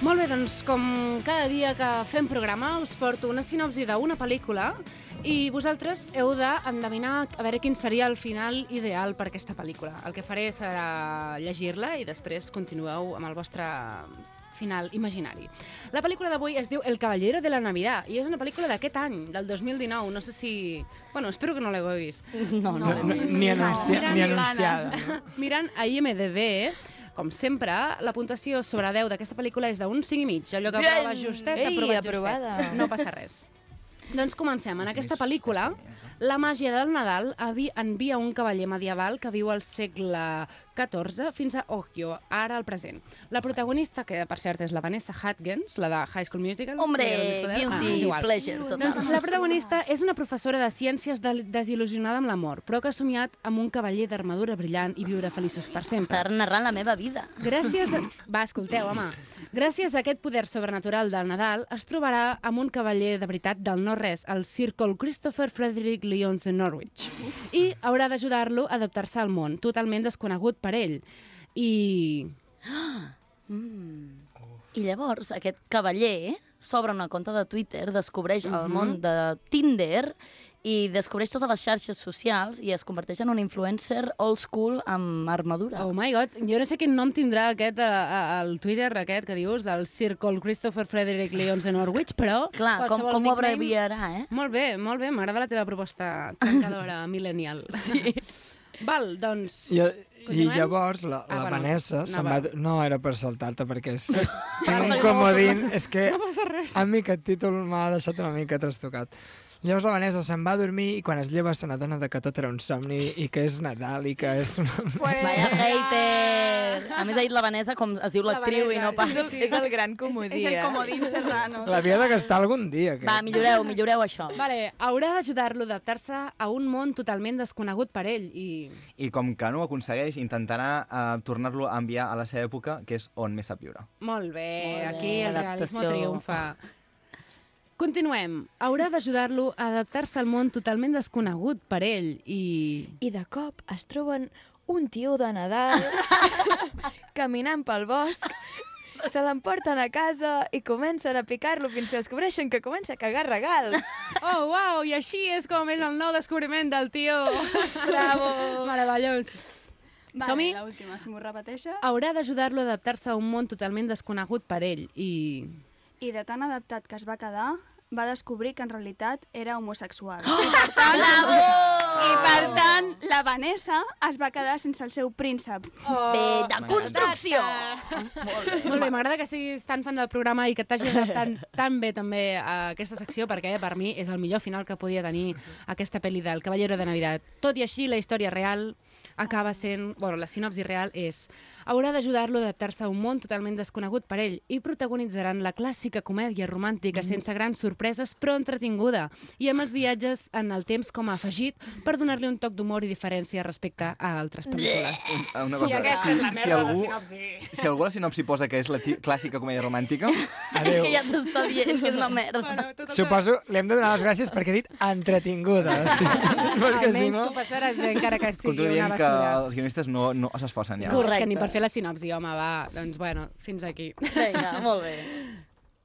Speaker 8: Molt bé, doncs com cada dia que fem programa us porto una sinopsi d'una pel·lícula i vosaltres heu d'endevinar a veure quin seria el final ideal per aquesta pel·lícula. El que faré serà llegir-la i després continueu amb el vostre final imaginari. La pel·lícula d'avui es diu El Caballero de la Navidad i és una pel·lícula d'aquest any, del 2019. No sé si... Bueno, espero que no l'heu vist.
Speaker 9: No, no l'hem No, vist. ni anuncia-
Speaker 8: Mirant-
Speaker 9: ni anunciada.
Speaker 8: Mirant a IMDB, com sempre, la puntuació sobre 10 d'aquesta pel·lícula és d'un 5 i mig. Allò que
Speaker 11: Bien.
Speaker 8: aprova justet,
Speaker 11: Ei,
Speaker 8: aprovat
Speaker 11: aprovada.
Speaker 8: justet. No passa res. Doncs comencem. En aquesta pel·lícula, la màgia del Nadal avi- envia un cavaller medieval que viu al segle XIV fins a Ohio, ara al present. La protagonista, que per cert és la Vanessa Hudgens, la de High School Musical...
Speaker 7: Hombre,
Speaker 8: ja l'heu discutit?
Speaker 7: guilty
Speaker 8: Ah, és igual.
Speaker 7: pleasure total.
Speaker 8: Doncs la protagonista és una professora de ciències del- desil·lusionada amb l'amor, però que ha somiat amb un cavaller d'armadura brillant i viure feliços per sempre.
Speaker 7: Estar narrant la meva vida.
Speaker 8: Gràcies... A... Va, escolteu, home. Gràcies a aquest poder sobrenatural del Nadal, es trobarà amb un cavaller de veritat del no-res, el Circle Christopher Frederick Lyons de Norwich. I haurà d'ajudar-lo a adaptar-se al món, totalment desconegut per ell. I...
Speaker 7: Mm. I llavors aquest cavaller s'obre una compte de Twitter, descobreix el
Speaker 8: Mhm.
Speaker 7: món de Tinder i descobreix totes les xarxes socials i es converteix en un influencer old school amb armadura.
Speaker 8: Oh my god, jo no sé quin nom tindrà aquest, eh, a- al Twitter aquest que dius, del Circle Christopher Frederick Lyons de Norwich, però...
Speaker 7: Clar, com-
Speaker 8: qualsevol
Speaker 7: com ho
Speaker 8: nickname-
Speaker 7: abreviarà, eh?
Speaker 8: Molt bé, molt bé, m'agrada la teva proposta tancadora, millennial. Sí. Val, doncs...
Speaker 9: I, I
Speaker 8: Continuem?
Speaker 9: Eh, llavors la, la
Speaker 8: Ah, bueno,
Speaker 9: Vanessa se'n va...
Speaker 8: anava.
Speaker 9: No, era per saltar-te, perquè és... Tinc
Speaker 8: Vale.
Speaker 9: un comodín, és que
Speaker 8: No passa res.
Speaker 9: a mi aquest títol m'ha deixat una mica trastocat. Llavors la Vanessa se'n va a dormir i quan es lleva se n'adona de que tot era un somni i que és Nadal i que és... Una...
Speaker 7: Vaya hater! A més, ha dit la Vanessa com es diu l'actriu i no pas.
Speaker 11: eh?
Speaker 10: serrano.
Speaker 9: L'havia de gastar algun dia. Aquest.
Speaker 7: Va, milloreu, milloreu això.
Speaker 8: Vale, haurà d'ajudar-lo a adaptar-se a un món totalment desconegut per ell i...
Speaker 12: I com que no ho aconsegueix, intentarà eh, tornar-lo a enviar a la seva època, que és on més sap viure.
Speaker 8: Molt bé,
Speaker 7: Molt bé,
Speaker 8: aquí el realisme
Speaker 7: adaptació.
Speaker 8: triomfa. Continuem. Haurà d'ajudar-lo a adaptar-se al món totalment desconegut per ell i...
Speaker 11: I de cop es troben un tio de Nadal caminant pel bosc, se l'emporten a casa i comencen a picar-lo fins que descobreixen que comença a cagar regals.
Speaker 8: Oh, wow, i així és com és el nou descobriment del tio.
Speaker 10: Bravo.
Speaker 8: Meravellós. Som-hi?
Speaker 10: Vale, l'última, si m'ho repeteixes.
Speaker 8: Haurà d'ajudar-lo a adaptar-se a un món totalment desconegut per ell i...
Speaker 10: I de tan adaptat que es va quedar, va descobrir que en realitat era homosexual.
Speaker 15: Bravo!
Speaker 10: I per tant, la Vanessa es va quedar sense el seu príncep.
Speaker 8: Oh. Bé, de construcció.
Speaker 10: Molt
Speaker 8: Molt bé, m'agrada que siguis tan fan del programa i que t'hagi agradat tan, tan bé també a aquesta secció, perquè eh, per mi és el millor final que podia tenir aquesta pel·li del Cavallero de Navidad. Tot i així, la història real acaba sent... Bueno, la sinopsi real és... Haurà d'ajudar-lo a adaptar-se a un món totalment desconegut per ell i protagonitzaran la clàssica comèdia romàntica sense grans sorpreses, però entretinguda, i amb els viatges en el temps com a afegit per donar-li un toc d'humor i diferència respecte a altres pel·lícules.
Speaker 12: Una cosa, si, si, algú, si algú a la sinopsi posa que és la ti- clàssica comèdia romàntica...
Speaker 7: És que ja t'està dient que és una merda.
Speaker 9: Suposo, li hem de donar les gràcies perquè he dit entretinguda. Sí. perquè si
Speaker 8: Almenys
Speaker 9: no...
Speaker 8: tu passaràs bé, encara que sigui
Speaker 12: Continuo
Speaker 8: una
Speaker 12: dient que
Speaker 8: basura.
Speaker 12: els guionistes no, no s'esforcen ja.
Speaker 8: No, és que ni per fer la sinopsi, home, va. Doncs, bueno, fins aquí.
Speaker 7: Vinga, molt bé.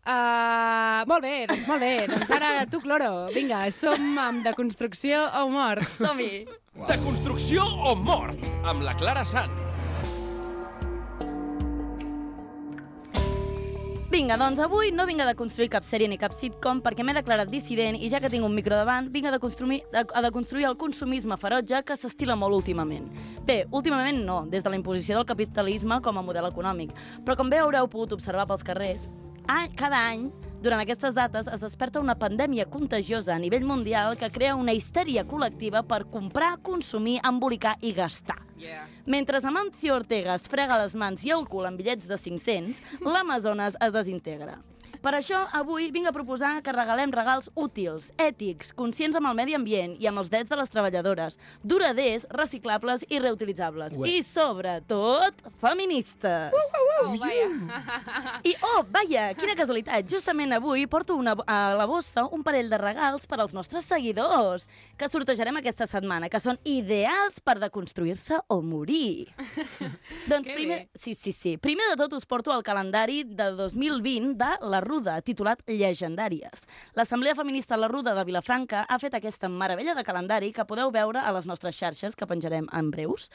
Speaker 8: Uh, molt bé, doncs molt bé. Doncs ara tu, Cloro, vinga, som amb de construcció o mort.
Speaker 7: Som-hi.
Speaker 2: De construcció o mort, amb la Clara Sant.
Speaker 7: Vinga, doncs avui no vinga de construir cap sèrie ni cap sitcom perquè m'he declarat dissident i ja que tinc un micro davant, vinga de construir, de, a de construir el consumisme ferotge que s'estila molt últimament. Bé, últimament no, des de la imposició del capitalisme com a model econòmic, però com bé haureu pogut observar pels carrers, a, cada any, durant aquestes dates, es desperta una pandèmia contagiosa a nivell mundial que crea una histèria col·lectiva per comprar, consumir, embolicar i gastar. Mentre Amancio Ortega es frega les mans i el cul amb bitllets de 500, l'Amazones es desintegra. Per això, avui vinc a proposar que regalem regals útils, ètics, conscients amb el medi ambient i amb els drets de les treballadores, duraders, reciclables i reutilitzables.
Speaker 14: Ué.
Speaker 7: I, sobretot, feministes.
Speaker 14: Oh, vaya.
Speaker 7: I, oh, vaja, quina casualitat. Justament avui porto una, a la bossa un parell de regals per als nostres seguidors que sortejarem aquesta setmana, que són ideals per deconstruir-se o morir. doncs primer... Sí, sí, sí. Primer de tot us porto al calendari de 2020 de La Ruda, titulat Llegendàries. L'Assemblea Feminista La Ruda de Vilafranca ha fet aquesta meravella de calendari que podeu veure a les nostres xarxes, que penjarem en breus.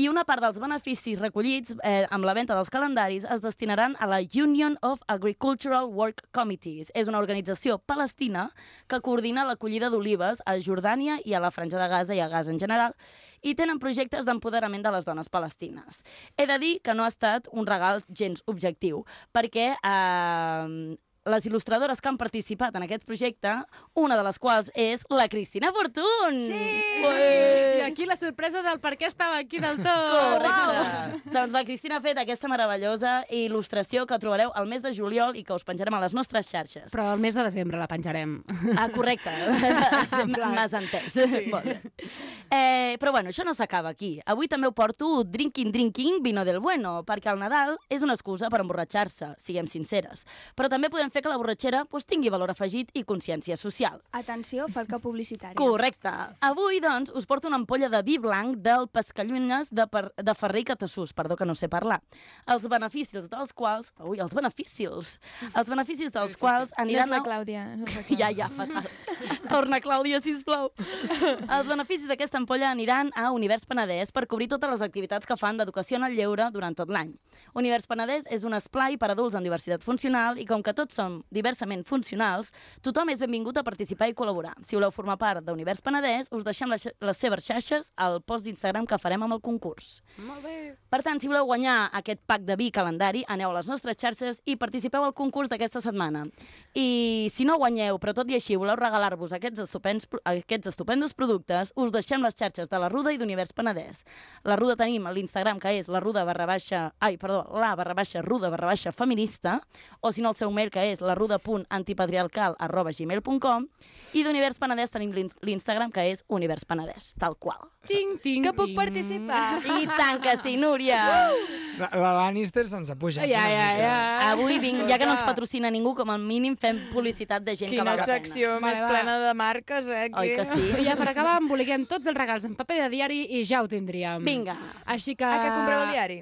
Speaker 7: I una part dels beneficis recollits eh, amb la venda dels calendaris es destinaran a la Union of Agricultural Work Committees. És una organització palestina que coordina l'acollida d'olives a Jordània i a la Franja de Gaza i a Gaza en general i tenen projectes d'empoderament de les dones palestines. He de dir que no ha estat un regal gens objectiu, perquè eh, les il·lustradores que han participat en aquest projecte, una de les quals és la Cristina Fortun. Sí!
Speaker 8: I aquí la sorpresa del per què estava aquí del tot.
Speaker 7: Ah, Correcte. Doncs la Cristina ha fet aquesta meravellosa il·lustració que trobareu al mes de juliol i que us penjarem a les nostres xarxes.
Speaker 8: Però el mes de desembre la penjarem.
Speaker 7: Ah, correcte. M'has entès. Sí. Molt bé. Eh, però bueno, això no s'acaba aquí. Avui també ho porto drinking, drinking, vino del bueno, perquè el Nadal és una excusa per emborratxar-se, siguem sinceres. Però també podem fer que la borratxera pues, tingui valor afegit i consciència social.
Speaker 10: Atenció, falca publicitària.
Speaker 7: Correcte. Avui, doncs, us porto una ampolla de vi blanc del Pescallunnes de, per... de Ferrer i Catassús, perdó que no sé parlar, els beneficis dels quals... Ui, els beneficis! Els beneficis dels quals aniran...
Speaker 11: No és la
Speaker 7: a-
Speaker 11: Clàudia. No és la
Speaker 7: ja, ja, fatal. Torna, Clàudia, sisplau. Els beneficis d'aquesta ampolla aniran a Univers Penedès per cobrir totes les activitats que fan d'educació en el lleure durant tot l'any. Univers Penedès és un esplai per adults en diversitat funcional i com que tots som diversament funcionals, tothom és benvingut a participar i col·laborar. Si voleu formar part d'Univers Penedès, us deixem les, xe- les seves xarxes al post d'Instagram que farem amb el concurs.
Speaker 8: Molt bé.
Speaker 7: Per tant, si voleu guanyar aquest pack de vi calendari, aneu a les nostres xarxes i participeu al concurs d'aquesta setmana. I si no guanyeu, però tot i així voleu regalar-vos aquests, estupends, pro- aquests estupendos productes, us deixem les xarxes de la Ruda i d'Univers Penedès. La Ruda tenim a l'Instagram, que és la Ruda barra baixa... Ai, perdó, la barra baixa Ruda barra baixa feminista, o si no el seu mail, que és la ruda.antipatriarcal arroba gmail.com, i d'Univers Penedès tenim l'ins- l'Instagram, que és Univers Penedès, tal qual.
Speaker 8: Tinc, tinc,
Speaker 11: Que
Speaker 15: Mm.
Speaker 11: puc participar.
Speaker 7: I tant que sí, Núria!
Speaker 9: La, la Lannister se'ns ha pujat
Speaker 7: Ja,
Speaker 9: una
Speaker 7: ja,
Speaker 9: mica.
Speaker 7: ja.
Speaker 8: Ah,
Speaker 7: Avui vinc, ja que no ens patrocina ningú, com a mínim fem publicitat de gent que
Speaker 11: Quina
Speaker 7: val la pena.
Speaker 11: secció més plena de marques, eh? Aquí.
Speaker 7: Oi que sí?
Speaker 8: Ja per acabar emboliquem tots els regals en paper de diari i ja ho tindríem.
Speaker 7: Mm. Vinga.
Speaker 8: Així Ah, que...
Speaker 11: A que compreu el diari?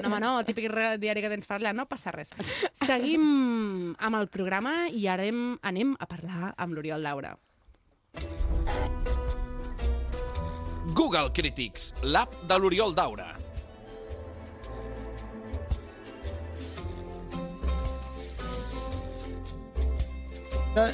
Speaker 8: No, home, no, el típic re- diari que tens per allà, no passa res. Seguim amb el programa i ara hem, anem a parlar amb l'Oriol Laura.
Speaker 2: Google Critics, l'app de l'Oriol Daura.
Speaker 9: Eh,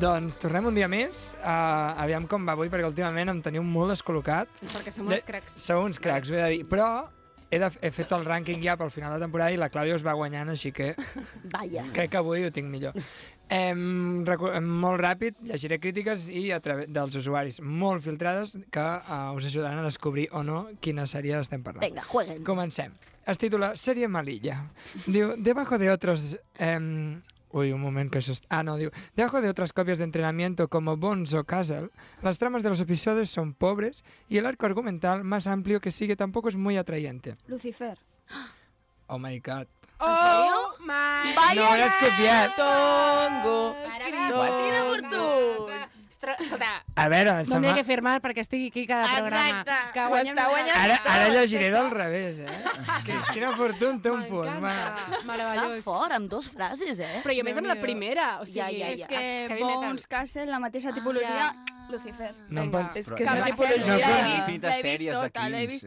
Speaker 9: Doncs tornem un dia més. Uh, aviam com va avui, perquè últimament em teniu molt descol·locat.
Speaker 8: Perquè som
Speaker 9: De-
Speaker 8: uns cracs.
Speaker 9: Sou uns cracs, ho he de dir. Però he, de, he fet el rànquing ja pel final de temporada i la Clàudia us va guanyant, així que
Speaker 7: Vaya.
Speaker 9: crec que avui ho tinc millor. Em, recu- em, molt ràpid, llegiré crítiques i a través dels usuaris molt filtrades que uh, us ajudaran a descobrir o no quina sèrie estem parlant.
Speaker 7: Vinga, jueguen.
Speaker 9: Comencem. Es titula Sèrie malilla. Diu, debajo de otros... em, uy, un moment que això... est- Ah, no, diu... Debajo de otras copias de entrenamiento como Bones o Castle, las tramas de los episodios son pobres y el arco argumental más amplio que sigue tampoco es muy atrayente.
Speaker 10: Lucifer.
Speaker 9: Oh my god.
Speaker 8: Oh,
Speaker 10: sèrio?
Speaker 8: my...
Speaker 9: no hauràs copiat.
Speaker 11: Tongo.
Speaker 8: Cristina Fortun. Estra- Escolta,
Speaker 9: A veure, Ah, se
Speaker 8: no n'hi
Speaker 9: m'ha-
Speaker 8: ha que firmar perquè estigui aquí cada programa. Exacte. Que guanyem
Speaker 11: Ho està
Speaker 8: nosaltres.
Speaker 9: Ara, ara llegiré del revés, eh? Cristina Fortun té un punt. va.
Speaker 7: Està fort, amb dues frases, eh?
Speaker 8: Però i a més amb la primera, o sigui,
Speaker 7: ja, ja, Ah,
Speaker 10: és
Speaker 7: ja.
Speaker 10: que
Speaker 8: heavy metal.
Speaker 10: Bones Castle, la mateixa tipologia, Lucifer.
Speaker 9: No em pot...
Speaker 11: És
Speaker 12: que és una tipologia. No, però- infinites sèries de crims, és a dir,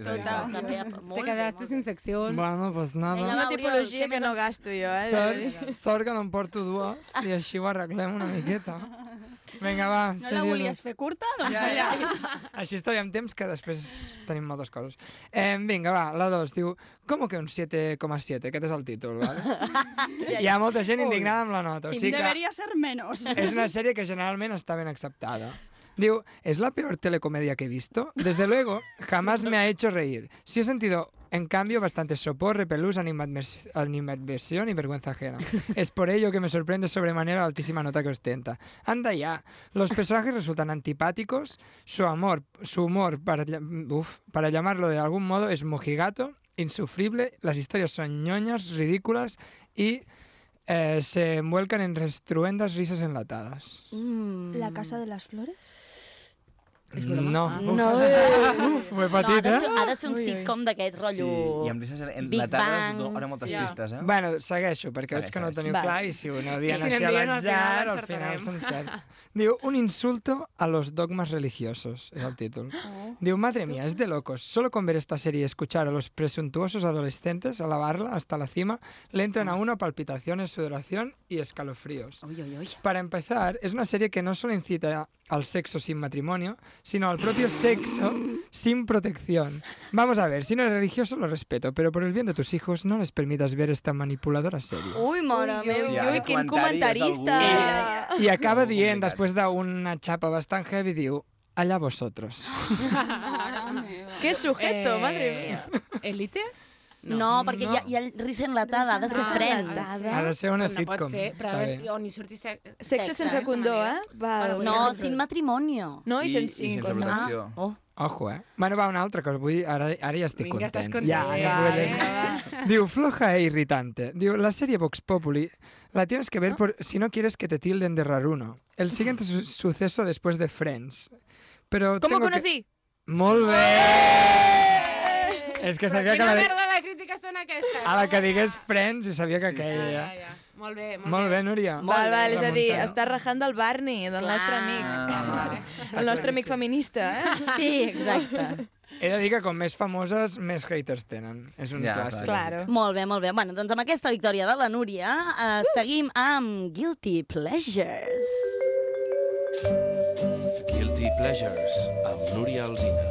Speaker 7: tota.
Speaker 8: Te quedaste sin secció.
Speaker 9: Bueno, pues nada.
Speaker 11: És una tipologia que no gasto jo, eh?
Speaker 9: Sort, sort que no en porto dues i així ho arreglem una miqueta. Vinga, va,
Speaker 10: No la
Speaker 9: sèrie
Speaker 10: volies
Speaker 9: dos.
Speaker 10: fer curta? Doncs
Speaker 9: Ja, ja. Així estaríem temps que després tenim moltes coses. Eh, vinga, va, la 2 diu ¿Cómo que un 7,7? Aquest és el títol, vale? Hi ha molta gent indignada amb la nota. O sigui que
Speaker 10: Debería ser menos.
Speaker 9: és una sèrie que generalment està ben acceptada. Diu, es la peor telecomedia que he visto. Desde luego, jamás me ha hecho reír. Si he sentido
Speaker 8: En cambio, bastante sopor, repelús, animadvers- animadversión y vergüenza ajena. Es por ello que me sorprende sobremanera la altísima nota que ostenta. Anda ya. Los personajes resultan antipáticos. Su amor, su humor, para, llam- uf, para llamarlo de algún modo, es mojigato, insufrible. Las historias son ñoñas, ridículas y eh, se envuelcan en restruendas risas enlatadas.
Speaker 7: Mm.
Speaker 16: La Casa de les Flores?
Speaker 8: No, uf,
Speaker 7: No.
Speaker 10: eh.
Speaker 8: uf, fue petit,
Speaker 7: ha, de ser,
Speaker 8: eh?
Speaker 7: ha de ser un sitcom d'aquest rotllo...
Speaker 12: I amb risques
Speaker 7: Big
Speaker 12: enlatades, do-
Speaker 7: Bangs,
Speaker 12: ara moltes
Speaker 7: ja.
Speaker 12: pistes, eh?
Speaker 8: Bueno, segueixo, perquè veig que no ho teniu
Speaker 12: Va.
Speaker 8: clar i si ho no dient
Speaker 12: I si
Speaker 8: així
Speaker 12: anem
Speaker 8: a
Speaker 12: dient, al
Speaker 8: l'atzar,
Speaker 12: final
Speaker 8: al final
Speaker 12: encertarem.
Speaker 8: s'encert. Diu, un insulto a los dogmas religiosos, és el títol. Digo, madre mía, es de locos. Solo con ver esta serie y escuchar a los presuntuosos adolescentes alabarla hasta la cima, le entran
Speaker 11: Mm.
Speaker 8: a uno palpitaciones, sudoración y escalofríos. Para empezar, es una serie que no solo incita al sexo sin matrimonio, sino al propio sexo sin protección. Vamos a ver, si no eres religioso lo respeto, pero por el bien de tus hijos no les permitas ver esta manipuladora serie.
Speaker 10: Ui, mare
Speaker 7: Ui,
Speaker 10: meva,
Speaker 7: ui,
Speaker 10: ui,
Speaker 7: ui,
Speaker 10: quin
Speaker 7: comentaris
Speaker 10: comentarista!
Speaker 8: I acaba dient, després d'una xapa bastant heavy, diu, allá vosotros.
Speaker 10: Qué
Speaker 8: Eh.
Speaker 10: sujeto, madre mía.
Speaker 11: Elite?
Speaker 7: No, perquè hi ha, hi ha risa enlatada, ha de ser
Speaker 8: Ah.
Speaker 10: Risa
Speaker 7: friends.
Speaker 10: enlatada.
Speaker 8: Ha de ser
Speaker 11: no
Speaker 8: una
Speaker 11: pot
Speaker 8: sitcom.
Speaker 11: ser, però
Speaker 8: està
Speaker 11: és-
Speaker 8: bé.
Speaker 11: on hi surti se
Speaker 10: Sexe sense
Speaker 11: eh,
Speaker 10: condó,
Speaker 11: d'alguna
Speaker 10: eh?
Speaker 11: manera.
Speaker 10: Val.
Speaker 7: No, sin matrimoni.
Speaker 10: No, i
Speaker 12: I-
Speaker 10: sense,
Speaker 12: i sense
Speaker 10: condó.
Speaker 12: protecció.
Speaker 10: Ah, oh.
Speaker 8: Ojo, eh? Bueno, va, una altra cosa. Vull, ara, ara ja estic
Speaker 10: Vinga,
Speaker 8: content.
Speaker 10: estàs
Speaker 8: Ja,
Speaker 10: content.
Speaker 8: ja
Speaker 10: Va,
Speaker 8: puc llegir. Diu, floja e irritante. Diu, la serie Vox Populi la tienes que ver por, si no quieres que te tilden de raruno. El siguiente su- suceso después de Friends.
Speaker 10: ¿Cómo
Speaker 8: Pero tengo que-
Speaker 10: conocí?
Speaker 8: Molt bé! És que sabia que
Speaker 11: Quina
Speaker 8: la, de...
Speaker 11: merda de crítiques són aquestes?
Speaker 8: a la que digués Friends i sabia que aquella...
Speaker 11: ja,
Speaker 8: era.
Speaker 11: Molt bé, molt,
Speaker 8: Molt bé, Núria.
Speaker 10: Val, val, és a dir,
Speaker 8: Remuntada.
Speaker 10: està rajant del Barney, del nostre amic.
Speaker 12: Ah.
Speaker 10: El nostre amic feminista, eh?
Speaker 7: Sí, exacte.
Speaker 8: He de dir que com més famoses, més haters tenen. És un
Speaker 12: Ja,
Speaker 8: clàssic.
Speaker 10: Claro.
Speaker 7: Molt bé, molt bé. Bueno, doncs amb aquesta victòria de la Núria, eh,
Speaker 10: Uh!
Speaker 7: seguim amb Guilty Pleasures.
Speaker 9: Guilty Pleasures, amb Núria Alzina.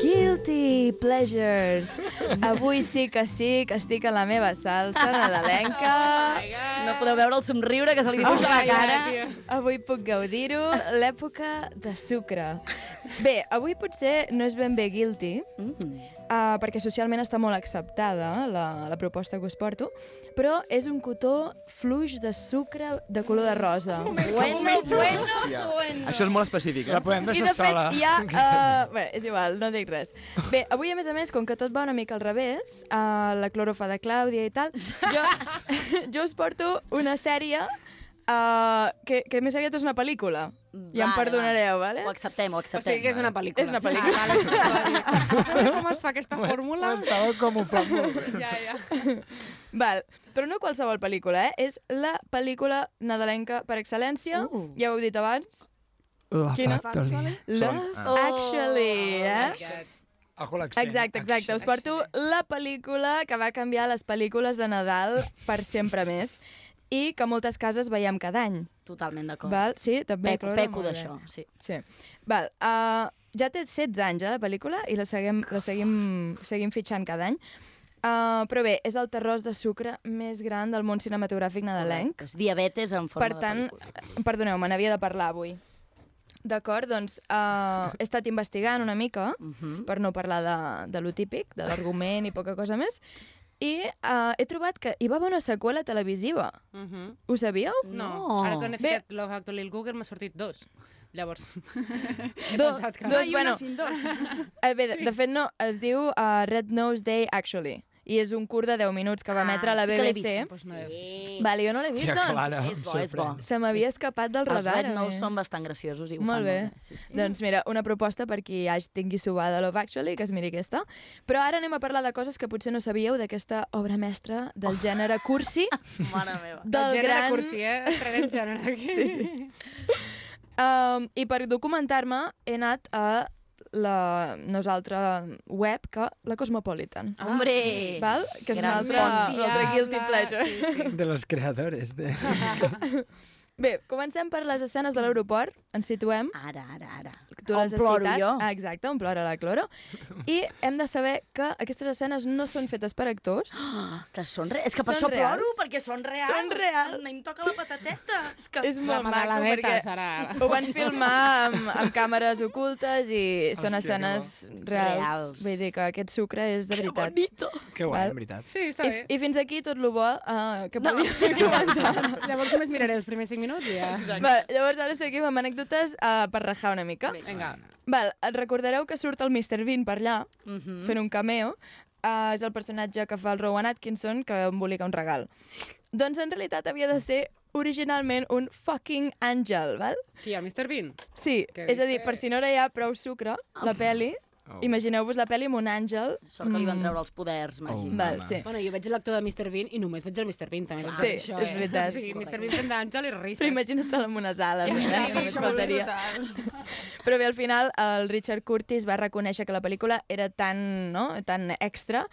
Speaker 10: Guilty Pleasures. Avui sí que sí, que estic a la meva salsa nadalenca.
Speaker 7: No podeu veure el somriure que se
Speaker 10: Oh,
Speaker 7: li dibuixa a la cara.
Speaker 10: Avui puc gaudir-ho, l'època de sucre. Bé, avui potser no és ben bé guilty,
Speaker 8: Mm.
Speaker 10: uh, perquè socialment està molt acceptada la, la proposta que us porto, però és un cotó fluix de sucre de color de rosa.
Speaker 7: Bueno, bueno.
Speaker 12: Hòstia. Això és molt específic, eh?
Speaker 8: La podem
Speaker 10: I
Speaker 8: deixar
Speaker 10: de fet
Speaker 8: sola.
Speaker 10: hi ha... Uh, bé, és igual, no dic res. Bé, avui, a més a més, com que tot va una mica al revés, uh, la clorofa de Clàudia i tal, jo, jo us porto una sèrie uh, que, que més aviat és una pel·lícula. Ja em
Speaker 7: Vale,
Speaker 10: perdonareu, vale?
Speaker 7: Ho acceptem, ho
Speaker 11: O
Speaker 7: acceptem.
Speaker 11: sigui que és una pel·lícula.
Speaker 10: És una pel·lícula.
Speaker 11: Com es fa aquesta fórmula?
Speaker 8: Estava com un flamur.
Speaker 11: Ja, ja.
Speaker 10: Val, però no qualsevol pel·lícula, eh? És la pel·lícula nadalenca per excel·lència,
Speaker 7: Uh.
Speaker 10: ja ho he dit abans.
Speaker 8: La
Speaker 10: Quina?
Speaker 8: factoria.
Speaker 10: Love
Speaker 12: ah.
Speaker 11: Oh
Speaker 10: Actually, eh?
Speaker 8: Ojo a l'accent.
Speaker 10: Exacte, exacte. Us porto la pel·lícula que va canviar les pel·lícules de Nadal per sempre més i que moltes cases veiem cada any.
Speaker 7: Totalment d'acord.
Speaker 10: Val? Sí, també,
Speaker 7: Peco,
Speaker 10: Clora?
Speaker 7: peco
Speaker 10: Molt bé.
Speaker 7: d'això, sí.
Speaker 10: Sí. Val, uh, ja té 16 anys, eh, la pel·lícula, i la seguim, la seguim, seguim fitxant cada any. Uh, però bé, és el terròs de sucre més gran del món cinematogràfic nadalenc.
Speaker 7: És diabetes en forma
Speaker 10: Per tant,
Speaker 7: de pel·lícula.
Speaker 10: eh, perdoneu, me n'havia de parlar avui. D'acord, doncs uh, he estat investigant una mica, per no parlar de, de lo típic, de l'argument i poca cosa més, i uh, he trobat que hi va haver una seqüela televisiva.
Speaker 11: Mhm.
Speaker 10: Ho sabíeu?
Speaker 11: No.
Speaker 7: No.
Speaker 11: Ara quan he
Speaker 10: Bé.
Speaker 11: ficat Love Actually al Google m'ha sortit dos. Llavors, Doncs he
Speaker 10: Do-
Speaker 11: pensat que...
Speaker 10: dos, bueno,
Speaker 17: dos.
Speaker 10: eh, bé, sí. de fet no, es diu uh, Red Nose Day Actually, i és un curt de 10 minuts que va emetre la
Speaker 7: Ah, sí que l'he
Speaker 10: BBC.
Speaker 7: vist.
Speaker 11: Doncs no l'he
Speaker 7: Sí.
Speaker 10: Vale, jo no l'he vist,
Speaker 8: Hòstia,
Speaker 10: doncs.
Speaker 8: Clara,
Speaker 7: és bo, és bo.
Speaker 8: em sorprens.
Speaker 10: Se m'havia escapat del
Speaker 7: Els
Speaker 10: radar.
Speaker 7: Red Nous
Speaker 10: eh?
Speaker 7: són bastant graciosos i ho
Speaker 10: Molt
Speaker 7: fan
Speaker 10: bé.
Speaker 7: molt bé. Sí, sí.
Speaker 10: Doncs mira, una proposta per qui haig, tingui subada Love Actually, que es miri aquesta. Però ara anem a parlar de coses que potser no sabíeu d'aquesta obra mestra del gènere cursi.
Speaker 7: Mare meva.
Speaker 10: del
Speaker 11: gènere
Speaker 10: gran...
Speaker 11: cursi, eh? Estrenem gènere aquí.
Speaker 10: Sí, sí. Um, I per documentar-me he anat a la nostra web, que la Cosmopolitan.
Speaker 7: Ah, Hombre!
Speaker 10: Val? Que és
Speaker 7: gran
Speaker 10: una altra,
Speaker 7: font
Speaker 10: una altra guilty pleasure.
Speaker 11: Sí, sí.
Speaker 8: De los creadores. De...
Speaker 10: Bé, comencem per les escenes de l'aeroport. Ens situem.
Speaker 7: Ara, ara, ara.
Speaker 10: Tu
Speaker 7: On
Speaker 10: les has
Speaker 7: ploro
Speaker 10: citat.
Speaker 7: jo.
Speaker 10: Ah, exacte, on plora la Cloro. I hem de saber que aquestes escenes no són fetes per actors.
Speaker 7: Que són re... És que per això ploro, perquè són reals.
Speaker 10: Són reals.
Speaker 7: Ai, Em toca la patateta. És, que...
Speaker 10: És molt maco, perquè
Speaker 7: serà.
Speaker 10: ho van filmar amb, amb càmeres ocultes i són
Speaker 7: Hòstia,
Speaker 10: escenes
Speaker 7: que bo.
Speaker 10: reals.
Speaker 7: Reals.
Speaker 10: Vull dir que aquest sucre és de veritat.
Speaker 12: Que guai, en veritat.
Speaker 8: Sí, està
Speaker 10: I,
Speaker 8: bé.
Speaker 10: I fins aquí tot lo bo uh, que podia comentar.
Speaker 8: Llavors només miraré els primers 5 minuts i ja...
Speaker 10: Val, llavors ara seguim amb anècdotes uh, per rajar una mica.
Speaker 8: Vinga.
Speaker 10: Val, et recordareu que surt el Mr. Bean per allà,
Speaker 7: Mhm.
Speaker 10: fent un cameo. Uh, és el personatge que fa el Rowan Atkinson, que embolica un regal. Sí. Doncs en realitat havia de ser originalment un fucking àngel, val?
Speaker 8: Qui, el Mr. Bean?
Speaker 10: Sí,
Speaker 8: Què
Speaker 10: és a dir,
Speaker 8: dices?
Speaker 10: per si no hi ha prou sucre, la peli,
Speaker 7: Oh.
Speaker 10: imagineu-vos la peli amb un àngel.
Speaker 7: Sort que li van
Speaker 10: mm,
Speaker 7: treure els poders màgics.
Speaker 10: Val, sí.
Speaker 8: Bueno, jo veig l'actor de Mr. Bean i només veig el Mr. Bean, també.
Speaker 7: Ah,
Speaker 8: eh.
Speaker 10: Clar,
Speaker 8: t'ho dic,
Speaker 10: sí, és veritat.
Speaker 8: Sí, Mr. Bean fent d'Àngel i risses.
Speaker 10: Però imagina't-la amb unes ales, eh? Només faltaria.
Speaker 8: brutal.
Speaker 10: Però bé, al final, el Richard Curtis va reconèixer que la pel·lícula era tan, no? tan extra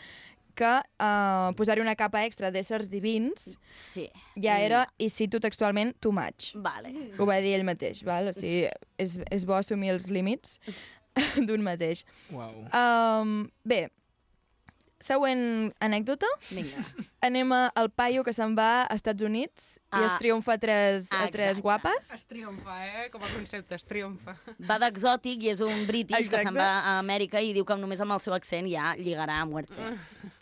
Speaker 10: que eh, posar-hi una capa extra d'éssers divins
Speaker 7: sí.
Speaker 10: ja
Speaker 7: Mm.
Speaker 10: era, i cito textualment, too much.
Speaker 7: Vale.
Speaker 10: Ho va dir ell mateix, val? O sigui, és, és bo assumir els límits d'un mateix.
Speaker 12: Uau.
Speaker 10: Um, bé, següent anècdota.
Speaker 7: Vinga.
Speaker 10: Anem a- al paio que se'n va a Estats Units i
Speaker 7: Ah.
Speaker 10: es triomfa a tres, a eh, tres
Speaker 7: Exacte.
Speaker 10: guapes.
Speaker 8: Es triomfa, eh? Com a concepte, es triomfa.
Speaker 7: Va d'exòtic i és un british que
Speaker 10: Exacte.
Speaker 7: se'n va a Amèrica i diu que només amb el seu accent ja lligarà a muerte.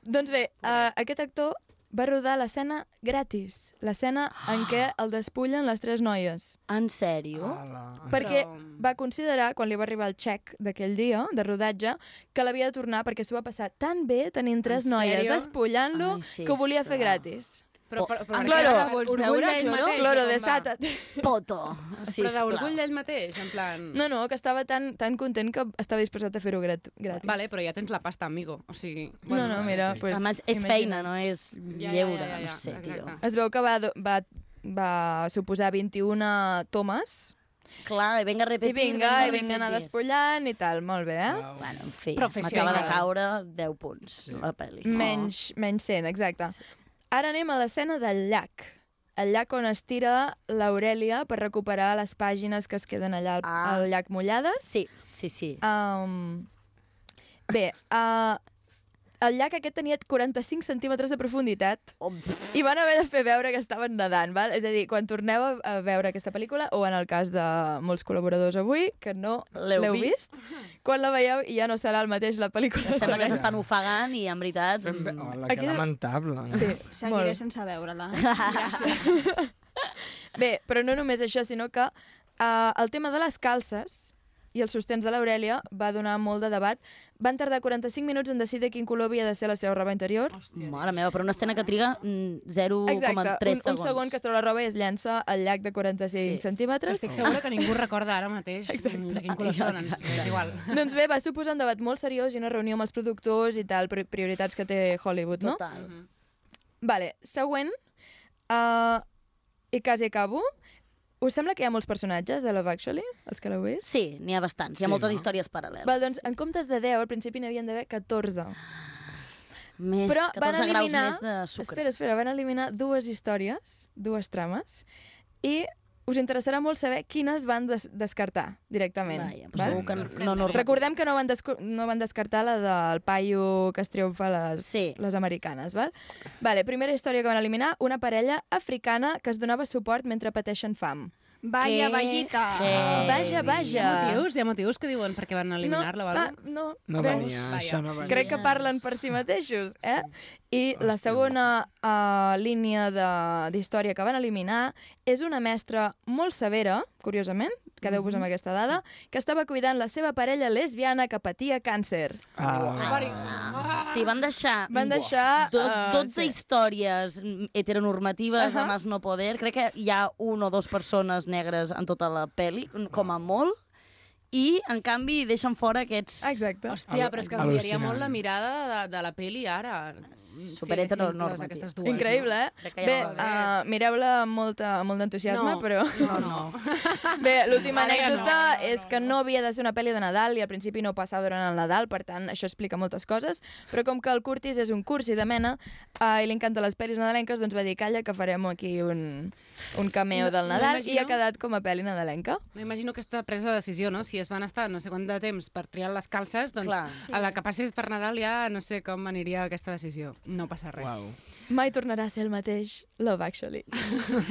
Speaker 10: Doncs bé, uh, aquest actor va rodar l'escena gratis, l'escena en què el despullen les tres noies.
Speaker 7: En sèrio?
Speaker 8: Ah.
Speaker 10: Perquè
Speaker 8: um,
Speaker 10: va considerar, quan li va arribar el xec d'aquell dia, de rodatge, que l'havia de tornar perquè s'ho va passar tan bé tenint tres
Speaker 7: En
Speaker 10: noies
Speaker 7: sèrio?
Speaker 10: despullant-lo
Speaker 7: Ai, sí,
Speaker 10: que ho volia fer
Speaker 7: està.
Speaker 10: gratis.
Speaker 8: Però- però- però-
Speaker 10: Cloro,
Speaker 8: Encara vols
Speaker 10: orgull
Speaker 8: veure,
Speaker 10: d'ell
Speaker 8: Cloro?
Speaker 10: mateix.
Speaker 8: Cloro,
Speaker 10: Cloro, desata't.
Speaker 7: Poto,
Speaker 8: Però d'orgull d'ell mateix, en plan...
Speaker 10: No, no, que estava tan, tan content que estava disposat a fer-ho grat gratis.
Speaker 8: Vale, però ja tens la pasta, amigo. O sigui...
Speaker 10: No, no, mira, pues,
Speaker 7: A més, és
Speaker 10: imagina't.
Speaker 7: feina, no és
Speaker 8: ja,
Speaker 7: lleure,
Speaker 8: ja, ja,
Speaker 7: no sé,
Speaker 8: exacte.
Speaker 7: tio.
Speaker 10: Es veu que va, do- va, va suposar 21 tomes.
Speaker 7: Clar, i vinga a
Speaker 10: I
Speaker 7: repetir.
Speaker 10: vinga, i vinga a anar
Speaker 7: repetir.
Speaker 10: despullant i tal, molt bé, eh? Wow.
Speaker 7: Bueno, en fi, m'acaba de caure 10 punts, la
Speaker 10: Oh.
Speaker 7: pel·li.
Speaker 10: Menys,
Speaker 7: Ah.
Speaker 10: menys 100, exacte. Ara anem a l'escena del llac. El llac on es tira l'Aurèlia per recuperar les pàgines que es queden allà al, ah. al llac mullades.
Speaker 7: Sí, sí, sí.
Speaker 10: Um, bé, uh, el llac aquest tenia 45 centímetres de profunditat
Speaker 7: oh.
Speaker 10: i van haver de fer veure que estaven nedant, val? És a dir, quan torneu a, a veure aquesta pel·lícula, o en el cas de molts col·laboradors avui, que no
Speaker 7: L'heu
Speaker 10: l'heu
Speaker 7: vist?
Speaker 10: vist, quan la veieu ja no serà el mateix la pel·lícula.
Speaker 7: Sembla que
Speaker 10: sabeu?
Speaker 7: s'estan ofegant i, en veritat... mm,
Speaker 12: Oh, la
Speaker 10: Aquí-
Speaker 12: que lamentable.
Speaker 10: Sí,
Speaker 18: Seguiré
Speaker 10: molt.
Speaker 18: sense veure-la.
Speaker 10: Bé, però no només això, sinó que eh, el tema de les calces i els sostens de l'Aurèlia va donar molt de debat. Van tardar 45 minuts en decidir quin color havia de ser la seva roba interior.
Speaker 7: Mare meva, però una escena que triga mm, 0,3
Speaker 10: Exacte, un,
Speaker 7: segons.
Speaker 10: un segon que es treu la roba i es llença al llac de 45
Speaker 7: Sí.
Speaker 10: sí. centímetres.
Speaker 8: Estic segura que ningú recorda ara mateix Exacte. de quin color són. ens- És igual.
Speaker 10: doncs bé, va suposar un debat molt seriós i una reunió amb els productors i tal, pri- prioritats que té Hollywood, no?
Speaker 7: Total.
Speaker 10: Vale, següent. Uh, I quasi acabo. Us sembla que hi ha molts personatges a Love Actually, els que l'heu vist?
Speaker 7: Sí, n'hi ha bastants. Hi ha
Speaker 10: Sí,
Speaker 7: moltes
Speaker 10: no?
Speaker 7: històries paral·leles.
Speaker 10: Val, doncs, en comptes de 10, al principi n'hi havien d'haver 14.
Speaker 7: Més,
Speaker 10: Però
Speaker 7: 14
Speaker 10: van
Speaker 7: graus
Speaker 10: eliminar...
Speaker 7: més de sucre.
Speaker 10: Espera, espera, van eliminar dues històries, dues trames, i us interessarà molt saber quines van des descartar directament.
Speaker 7: Vaja, però segur que no- no- no-
Speaker 10: Recordem que no van, descu- no van descartar la del paio que es triomfa a les,
Speaker 7: Sí.
Speaker 10: les americanes, val? Vale, primera història que van eliminar, una parella africana que es donava suport mentre pateixen fam.
Speaker 18: Vaya, vallita.
Speaker 10: Vaja,
Speaker 8: Hi
Speaker 10: vaja.
Speaker 8: ha motius, hi ha motius que diuen perquè van eliminar-la o
Speaker 10: va,
Speaker 8: alguna
Speaker 10: no, ah, doncs,
Speaker 12: No
Speaker 10: res.
Speaker 12: venia, això no venia.
Speaker 10: Crec que parlen per si mateixos, eh? I la segona uh, línia de- d'història que van eliminar és una mestra molt severa, curiosament, quedeu-vos
Speaker 12: Mhm.
Speaker 10: amb aquesta dada, que estava cuidant la seva parella lesbiana que patia càncer.
Speaker 7: Ah. Sí, van deixar...
Speaker 10: Van deixar,
Speaker 7: Do,
Speaker 10: eh,
Speaker 7: 12
Speaker 10: sí.
Speaker 7: històries mm, heteronormatives uh -huh. a Mas No Poder. Crec que hi ha una o dues persones negres en tota la pel·li, com a molt. i, en canvi, deixen fora aquests...
Speaker 11: Exacte.
Speaker 7: Hòstia,
Speaker 8: però és que canviaria molt la mirada de, de la peli ara.
Speaker 7: Superheteronormativa.
Speaker 8: Sí, aquestes dues.
Speaker 11: Increïble, eh?
Speaker 8: De que ja
Speaker 11: Bé,
Speaker 8: va bé.
Speaker 11: uh, mireu-la amb molta, amb molt d'entusiasme,
Speaker 8: No,
Speaker 11: però...
Speaker 8: no, no.
Speaker 11: Bé, l'última
Speaker 8: Ara ja no.
Speaker 11: anècdota no, no, és que no havia de ser una pel·li de Nadal i al principi no passava durant el Nadal, per tant, això explica moltes coses, però com que el Curtis és un cursi de mena eh, i li encanta les pel·lis nadalenques, doncs va dir, calla, que farem aquí un, un cameo
Speaker 8: No,
Speaker 11: del
Speaker 8: no
Speaker 11: Nadal i
Speaker 8: imagino.
Speaker 11: ha quedat com a pel·li nadalenca.
Speaker 8: M'imagino aquesta presa de decisió, no? Si es van estar no sé quant de temps per triar les calces, doncs
Speaker 11: Clar.
Speaker 8: a la que passis per Nadal ja no sé com aniria aquesta decisió. No passa res.
Speaker 11: Mai tornarà a ser el mateix Love Actually.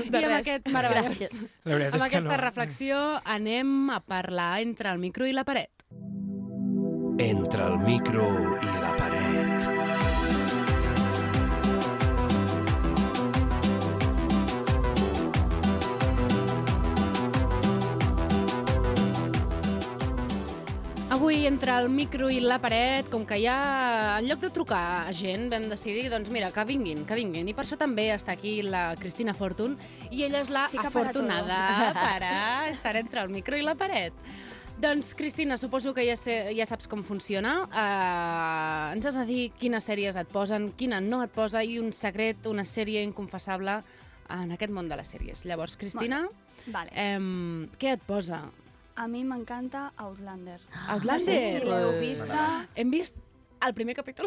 Speaker 8: I amb aquest meravellós...
Speaker 9: La veritat
Speaker 8: Amb
Speaker 9: és que no.
Speaker 8: aquesta reflexió anem a parlar entre el micro i la paret.
Speaker 2: Entre el micro i la paret.
Speaker 8: Avui, entre el micro i la paret, com que ja en lloc de trucar a gent vam decidir, doncs mira, que vinguin, que vinguin. I per això també està aquí la Cristina Fortun, i ella és la
Speaker 14: Chica para
Speaker 8: afortunada
Speaker 14: todo.
Speaker 8: per a estar entre el micro i la paret. Doncs, Cristina, suposo que ja, sé, ja saps com funciona. Uh, ens has de dir quines sèries et posen, quina no et posa, i un secret, una sèrie inconfessable en aquest món de les sèries. Llavors, Cristina,
Speaker 10: Vale.
Speaker 8: em, què et posa?
Speaker 10: A mi m'encanta Outlander.
Speaker 11: Ah,
Speaker 8: Outlander.
Speaker 10: No sé si l'heu vista.
Speaker 8: Hem vist el primer capítol.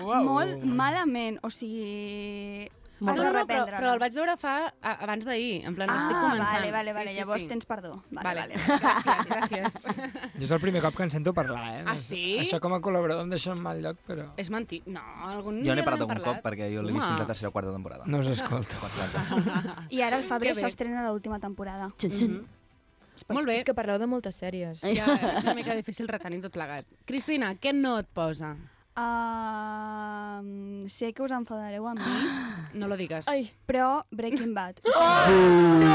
Speaker 10: Wow. Molt malament, o sigui... Has de
Speaker 8: no, no, però,
Speaker 10: reprendre-la.
Speaker 8: però el vaig veure fa a- abans d'ahir, en plan, ah, estic començant.
Speaker 10: vale, vale, vale, llavors tens perdó. Vale,
Speaker 8: vale. Gràcies, gràcies.
Speaker 9: Jo és el primer cop que en sento parlar, eh?
Speaker 8: Ah, sí?
Speaker 9: Això com a col·laborador em deixa en mal lloc, però...
Speaker 8: És mentir. No, algun
Speaker 12: Jo n'he
Speaker 8: dia
Speaker 12: parlat
Speaker 8: n'hem
Speaker 12: algun cop perquè jo l'he vist
Speaker 8: Home.
Speaker 12: fins la tercera o quarta temporada.
Speaker 9: No us escolto.
Speaker 10: I ara el febrer
Speaker 11: Que bé.
Speaker 10: s'estrena l'última temporada.
Speaker 7: Xin, xin.
Speaker 8: Mm-hmm.
Speaker 11: Molt bé. És que parleu de moltes sèries.
Speaker 8: Ja, és una mica difícil retenir tot plegat. Cristina, què no et posa?
Speaker 10: Uh, sé que us enfadareu amb mi.
Speaker 8: No lo digues.
Speaker 10: Ai. Però Breaking Bad. Oh!
Speaker 8: No!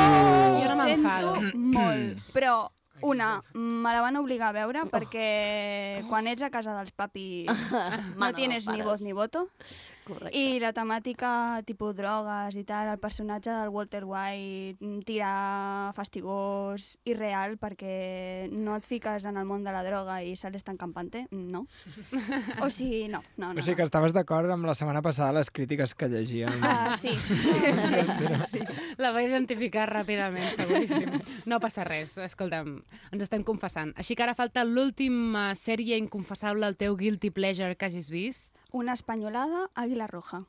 Speaker 10: Ho
Speaker 8: Jo no
Speaker 10: sento
Speaker 8: m'enfado.
Speaker 10: molt, però una, me la van obligar a
Speaker 8: Oh.
Speaker 10: veure perquè quan ets a casa dels papis no
Speaker 7: Mana dels
Speaker 10: tienes ni
Speaker 7: pares.
Speaker 10: voz ni voto.
Speaker 7: Correcte.
Speaker 10: I la temàtica tipus drogues i tal, el personatge del Walter White mm, tira fastigós i real perquè no et fiques en el món de la droga i sales tan campante, no. O sigui, no, no, no.
Speaker 9: O sigui que estaves d'acord amb la setmana passada les crítiques que llegíem.
Speaker 10: Ah, sí.
Speaker 8: Sí, la va identificar ràpidament, seguríssim. No passa res, escolta'm, ens estem confessant. Així que ara falta l'última sèrie inconfessable, el teu guilty pleasure que hagis vist.
Speaker 10: Una espanyolada, Àguila Roja.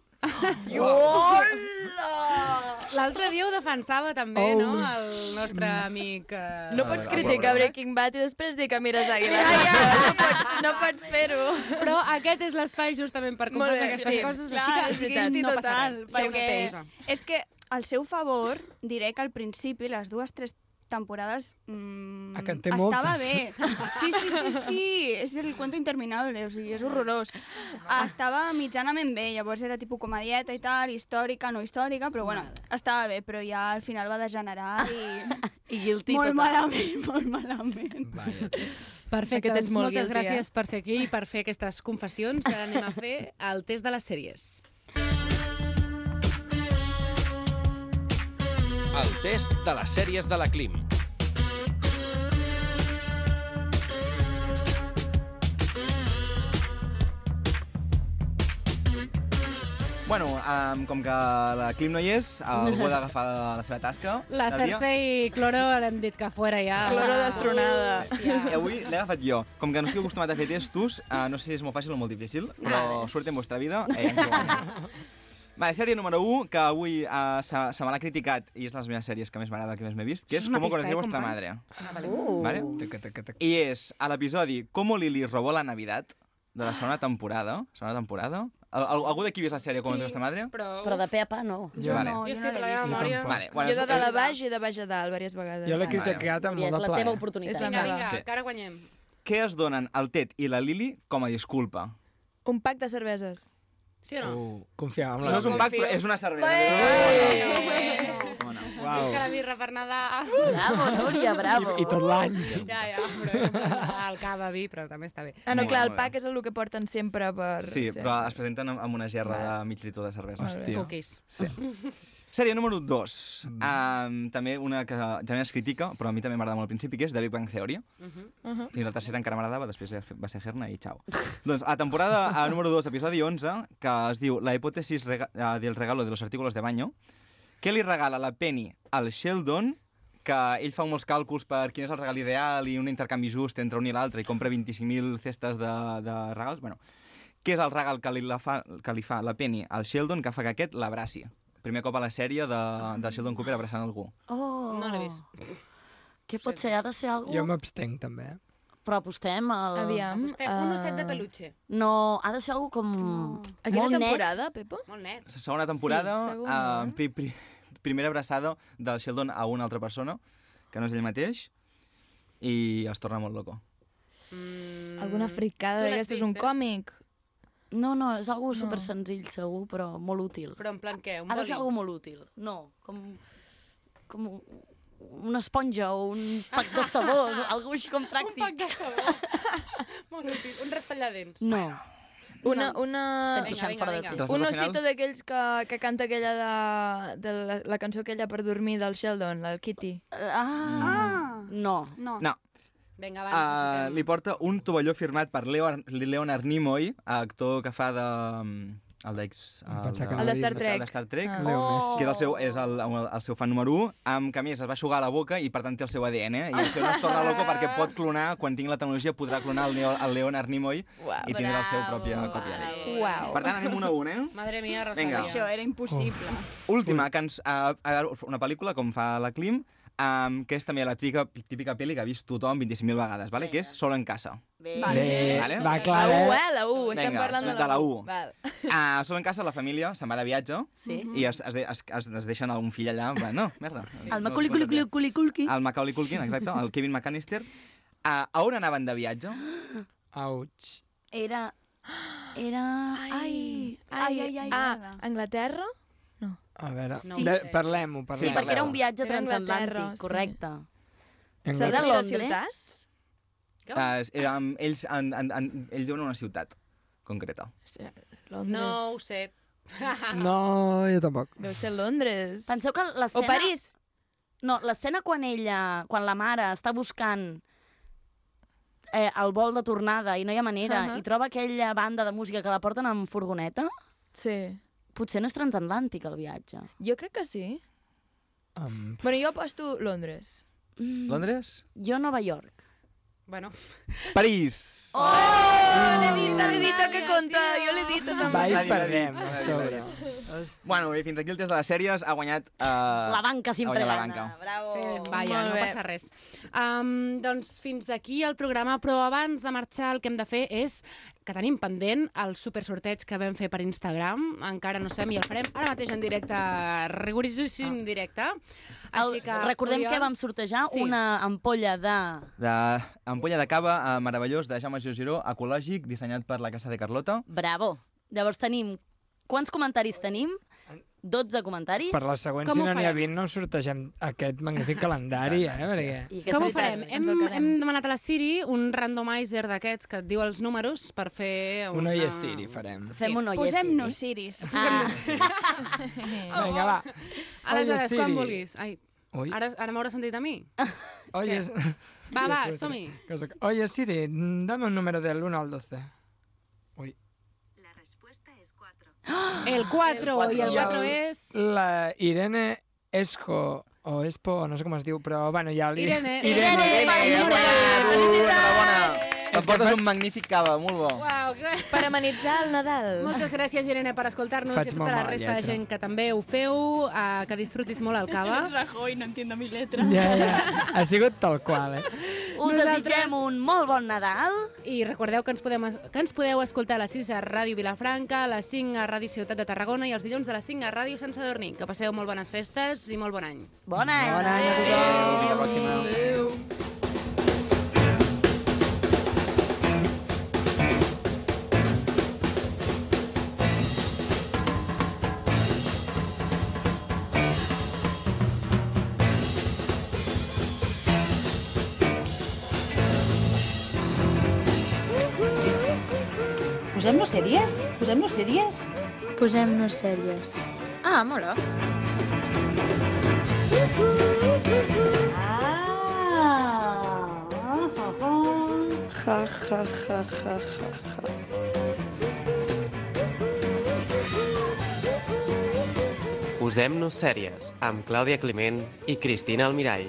Speaker 8: L'altre dia ho defensava també,
Speaker 10: Oh.
Speaker 8: no?, el nostre
Speaker 9: Mm.
Speaker 8: amic... Eh...
Speaker 11: No pots criticar Breaking Bad i després dir que mires Aguilar. no pots, no pots fer-ho.
Speaker 8: Però aquest és l'espai justament per
Speaker 11: Molt
Speaker 8: confessar
Speaker 11: bé,
Speaker 8: aquestes
Speaker 11: sí.
Speaker 8: coses,
Speaker 11: Clar, és
Speaker 8: així que
Speaker 11: veritat.
Speaker 8: no passa
Speaker 11: Total,
Speaker 8: res.
Speaker 10: perquè
Speaker 8: Safe
Speaker 10: és,
Speaker 8: space.
Speaker 10: és que al seu favor diré que al principi les dues tres temporades mm,
Speaker 9: Ah, que en té
Speaker 10: estava
Speaker 9: moltes.
Speaker 10: bé. Sí, sí, sí, sí, és el cuento interminable, o sigui, és horrorós.
Speaker 11: Ah.
Speaker 10: Estava mitjanament bé, llavors era tipus comedieta i tal, històrica, no històrica, però bueno, estava bé, però ja al final va degenerar i...
Speaker 7: I guilty
Speaker 10: molt
Speaker 7: total.
Speaker 10: malament, molt malament.
Speaker 8: Perfecte,
Speaker 10: Aquest
Speaker 8: doncs
Speaker 10: és molt
Speaker 8: moltes
Speaker 10: guilty,
Speaker 8: gràcies
Speaker 10: eh?
Speaker 8: per ser aquí i per fer aquestes confessions. Ara anem a fer el test de les sèries.
Speaker 2: El test de les sèries de la Clim.
Speaker 12: Bueno, um, com que la Clim no hi és, algú ha d'agafar la seva tasca.
Speaker 8: La
Speaker 12: del dia.
Speaker 8: Cersei i Cloro l'hem dit que fora ja.
Speaker 11: Cloro destronada.
Speaker 12: I avui l'he agafat jo. Com que no estic acostumat a fer testos, uh, no sé si és molt fàcil o molt difícil, però sort en vostra vida. Eh, ens ho guanyem. Vale, sèrie número 1, que avui uh, se, se me l'ha criticat, i és de les meves sèries que més m'agrada, que més m'he vist, que
Speaker 8: Això
Speaker 12: és
Speaker 8: és una
Speaker 12: Com
Speaker 8: pista,
Speaker 12: conocí
Speaker 8: eh,
Speaker 12: vostra
Speaker 8: companys?
Speaker 12: madre.
Speaker 8: Ah, vale. Uh.
Speaker 12: Vale? I és a l'episodi Como Lili robó la Navidad, de la segona temporada. Segona temporada. Al, al, algú d'aquí ha vist la sèrie Com conocí vostra madre?
Speaker 7: Però de pe a pa, no.
Speaker 12: Jo Vale. no,
Speaker 11: jo no l'he vist.
Speaker 12: Vale,
Speaker 11: Bueno,
Speaker 12: bueno,
Speaker 11: jo de
Speaker 12: és-
Speaker 11: dalt
Speaker 12: és-
Speaker 11: a baix i de baix a dalt, diverses vegades.
Speaker 12: Jo l'he criticat amb molt de plaer.
Speaker 9: eh.
Speaker 8: És vinga, vinga,
Speaker 12: Sí.
Speaker 8: que ara guanyem.
Speaker 12: Què es donen el Ted i la Lili com a disculpa?
Speaker 11: Un pack de cerveses.
Speaker 8: Sí o no?
Speaker 9: Uh, confiava en la
Speaker 12: No és un
Speaker 9: Lili.
Speaker 12: pack, però és una cervesa.
Speaker 9: Uau.
Speaker 8: És que la birra per Nadal.
Speaker 7: Bravo, Núria, bravo.
Speaker 9: I, i tot l'any.
Speaker 8: Ja, ja, però el cava vi, però també està bé.
Speaker 11: Ah, no,
Speaker 12: Molt
Speaker 11: clar,
Speaker 12: bé,
Speaker 11: el
Speaker 12: molt bé.
Speaker 11: pack és el que porten sempre per...
Speaker 12: Sí, però es presenten amb- amb una gerra de mig litre de cervesa.
Speaker 11: Molt bé. Hòstia.
Speaker 8: Cookies.
Speaker 12: Sí. Ah. Sèrie número 2. Um, també una que generalment es critica, però a mi també m'agrada molt al principi, que és The Big Bang Theory. Fins la tercera encara m'agradava, després ja va ser Herna i xau. doncs a temporada a número 2, episodi 11, que es diu La hipòtesis rega eh, del regalo de los artículos de baño, que li regala la Penny al Sheldon, que ell fa molts càlculs per quin és el regal ideal i un intercanvi just entre un i l'altre i compra 25.000 cestes de, de regals. Bueno, què és el regal que li, la fa, que li fa la Penny al Sheldon que fa que aquest l'abraci? Primer cop a la sèrie de, de Sheldon Cooper abraçant algú.
Speaker 7: Oh.
Speaker 8: No l'he vist.
Speaker 7: Què pot ser? Ha de ser algú...
Speaker 9: Jo m'abstenc, també. eh?
Speaker 7: Però apostem al...
Speaker 11: Aviam, eh,
Speaker 7: Apostem.
Speaker 11: Un osset de peluche.
Speaker 7: No, ha de ser algú com...
Speaker 8: Mm.
Speaker 11: Aquesta
Speaker 7: molt net.
Speaker 11: temporada, Pepa?
Speaker 8: Molt net.
Speaker 12: La segona temporada,
Speaker 11: Sí,
Speaker 12: sí,
Speaker 11: segona.
Speaker 12: Uh, pri, pri, primera abraçada del Sheldon a una altra persona, que no és ell mateix, i es torna molt loco.
Speaker 11: Alguna fricada
Speaker 7: Tu l'has
Speaker 11: d'aquesta és un
Speaker 7: vist, eh?
Speaker 11: còmic.
Speaker 7: No, no, és algú super senzill segur, però molt útil.
Speaker 11: Però en plan què?
Speaker 7: ha de ser algú molt útil. No, com, com un- una esponja o un pack de sabó, algú així com pràctic. Un pack de sabó.
Speaker 11: Molt útil. Un rastelladents.
Speaker 7: No.
Speaker 11: Una, una...
Speaker 7: Estem pixant Vinga, fora de vinga, temps. vinga.
Speaker 11: Un
Speaker 7: Resultat final?
Speaker 11: osito d'aquells que, que canta aquella de, de la, la cançó aquella per dormir del Sheldon, el Kitty.
Speaker 7: Ah! No.
Speaker 12: No. no.
Speaker 8: Vinga,
Speaker 12: Uh, li porta un tovalló firmat per Leo, Leonard Nimoy, actor que fa de... mm, El d'ex...
Speaker 9: pensava que
Speaker 12: de-
Speaker 9: El de Star
Speaker 12: El
Speaker 9: Trek.
Speaker 12: de Star Trek.
Speaker 9: Ah. Leo Messi.
Speaker 12: Que era el seu, és el, el, el seu fan número 1, amb que a més es va jugar a la boca i per tant té el seu ADN. I això no es
Speaker 9: Ah.
Speaker 12: torna loco perquè pot clonar, quan tingui la tecnologia, podrà clonar el, Leo, el Leonard Nimoy
Speaker 11: Uau.
Speaker 12: i tindrà el seu propi còpia.
Speaker 10: Uau.
Speaker 12: Per tant, anem un a un, eh?
Speaker 8: Madre mia,
Speaker 12: Vinga.
Speaker 10: Això era impossible.
Speaker 12: Última, que ens, uh, a veure, una pel·lícula, com fa la Klim, um, que és també la típica, típica pel·li que ha vist tothom 25.000 vegades, vale? que és Sol en casa.
Speaker 11: Bé.
Speaker 9: Bé.
Speaker 12: Vale?
Speaker 9: Va, clar,
Speaker 11: La U,
Speaker 9: eh?
Speaker 11: eh? La U. Estem
Speaker 12: Vinga,
Speaker 11: parlant de la,
Speaker 12: de la U.
Speaker 11: Val.
Speaker 12: Uh, Sol en casa, la família se'n va de viatge
Speaker 7: Sí.
Speaker 12: i es, es, de- es, es, es deixen un fill allà. en plan, No, merda.
Speaker 7: El Macaulay Culkin, Culkin, Culkin.
Speaker 12: El Macaulay Culkin, exacte, el Kevin McAllister. Uh, a on anaven de viatge?
Speaker 7: eh.
Speaker 9: Auts.
Speaker 7: Era... Era... Ai,
Speaker 11: Ai, ai, ai. Ah, Anglaterra?
Speaker 9: A veure,
Speaker 11: No
Speaker 9: no
Speaker 11: ho
Speaker 9: de,
Speaker 11: sé.
Speaker 9: parlem-ho, parlem
Speaker 7: Sí, perquè era un viatge
Speaker 11: Era Anglaterra,
Speaker 7: transatlàntic,
Speaker 11: sí.
Speaker 7: correcte.
Speaker 9: Anglaterra.
Speaker 7: Serà de
Speaker 11: Mira,
Speaker 7: Londres?
Speaker 11: ciutats?
Speaker 12: Uh, érem, ells, en, en, en, ells diuen una ciutat concreta.
Speaker 11: Londres.
Speaker 8: No ho sé.
Speaker 9: No, jo tampoc.
Speaker 11: Deu ser Londres.
Speaker 7: Penseu que l'escena...
Speaker 11: O París.
Speaker 7: No, l'escena quan ella, quan la mare està buscant eh, el vol de tornada i no hi ha manera, uh
Speaker 11: Ahà.
Speaker 7: -huh. i troba aquella banda de música que la porten amb furgoneta,
Speaker 11: Sí.
Speaker 7: potser no és transatlàntic el viatge.
Speaker 11: Jo crec que sí.
Speaker 9: Um,
Speaker 11: Bueno, jo aposto Londres.
Speaker 12: Londres?
Speaker 7: Jo Nova York.
Speaker 8: Bueno.
Speaker 12: París!
Speaker 11: Oh! L'he dit, l'he dit que compta. Jo l'he dit també.
Speaker 9: Va i
Speaker 12: Va dir, va dir,
Speaker 9: perdem,
Speaker 12: va dir,
Speaker 9: a
Speaker 12: va dir.
Speaker 9: sobre.
Speaker 12: Bueno, bé, fins aquí el test de les sèries. Ha guanyat... Uh,
Speaker 7: La banca sempre
Speaker 12: la
Speaker 7: gana.
Speaker 12: banca.
Speaker 7: Bravo.
Speaker 8: Sí, vaja,
Speaker 11: Molt
Speaker 8: no
Speaker 11: bé.
Speaker 8: passa res. Um, doncs fins aquí el programa, però abans de marxar el que hem de fer és que tenim pendent el supersorteig que vam fer per Instagram, encara no sabem i el farem ara mateix en directe, rigorosíssim directe. Així que,
Speaker 7: Ah. Recordem que vam sortejar
Speaker 8: Sí.
Speaker 7: sí. una ampolla de...
Speaker 12: De ampolla de cava eh, meravellós de Jaume Giorgiró, ecològic, dissenyat per la Casa de Carlota.
Speaker 7: Bravo. Llavors tenim... Quants comentaris tenim? 12 comentaris.
Speaker 9: Per la següent,
Speaker 7: Com
Speaker 9: si
Speaker 7: ho
Speaker 9: no n'hi ha
Speaker 7: farem?
Speaker 9: 20, no sortegem aquest magnífic calendari, eh? Perquè...
Speaker 7: I
Speaker 8: Com ho farem?
Speaker 7: veritat, ens
Speaker 8: Hem,
Speaker 7: el quedem.
Speaker 8: hem demanat a la Siri un randomizer d'aquests que et diu els números per fer...
Speaker 9: Un
Speaker 8: Una...
Speaker 9: oi Siri farem.
Speaker 7: Fem un oies.
Speaker 10: Posem-nos siris.
Speaker 7: Ah,
Speaker 9: Vinga, va.
Speaker 8: Oh. Aleshores,
Speaker 9: Siri.
Speaker 8: quan vulguis. Ai,
Speaker 9: Oi,
Speaker 8: ara, ara m'hauràs sentit a mi?
Speaker 9: oi, és...
Speaker 8: Va, va, som-hi.
Speaker 9: Oye, Siri, mm, dame un número del 1 al 12.
Speaker 8: El 4, i el 4 és...
Speaker 9: La Irene Esco, o Espo, no sé com es diu, però bueno, ja li...
Speaker 8: Irene.
Speaker 9: Irene, Irene, Irene,
Speaker 12: Em portes un magnífic cava, molt bo.
Speaker 8: Uau, que...
Speaker 11: Per amenitzar el Nadal.
Speaker 8: Moltes gràcies, Irene, per escoltar-nos i
Speaker 12: Faig
Speaker 8: a tota la
Speaker 12: molt mala
Speaker 8: resta de
Speaker 12: lletra.
Speaker 8: gent que també ho feu, uh, que disfrutis molt el cava.
Speaker 5: Rajoy, no entiendo mi letra.
Speaker 9: Ja, ja, ha sigut tal qual, eh?
Speaker 7: Us desitgem un molt bon Nadal.
Speaker 8: I recordeu que ens, podem, es- que ens podeu escoltar a les 6 a Ràdio Vilafranca, a les 5 a Ràdio Ciutat de Tarragona i els dilluns a les 5 a Ràdio Sant Sadurní. Que passeu molt bones festes i molt bon any.
Speaker 7: Bon any.
Speaker 9: Bon any a tothom.
Speaker 12: Fins la pròxima.
Speaker 5: Posem-nos sèries? Posem-nos sèries?
Speaker 3: Posem-nos sèries. Ah, mola.
Speaker 5: Posem-nos
Speaker 10: Ah.
Speaker 8: ja, ja, ja, ja.
Speaker 9: Posem-nos sèries amb Clàudia Climent i Cristina Almirall.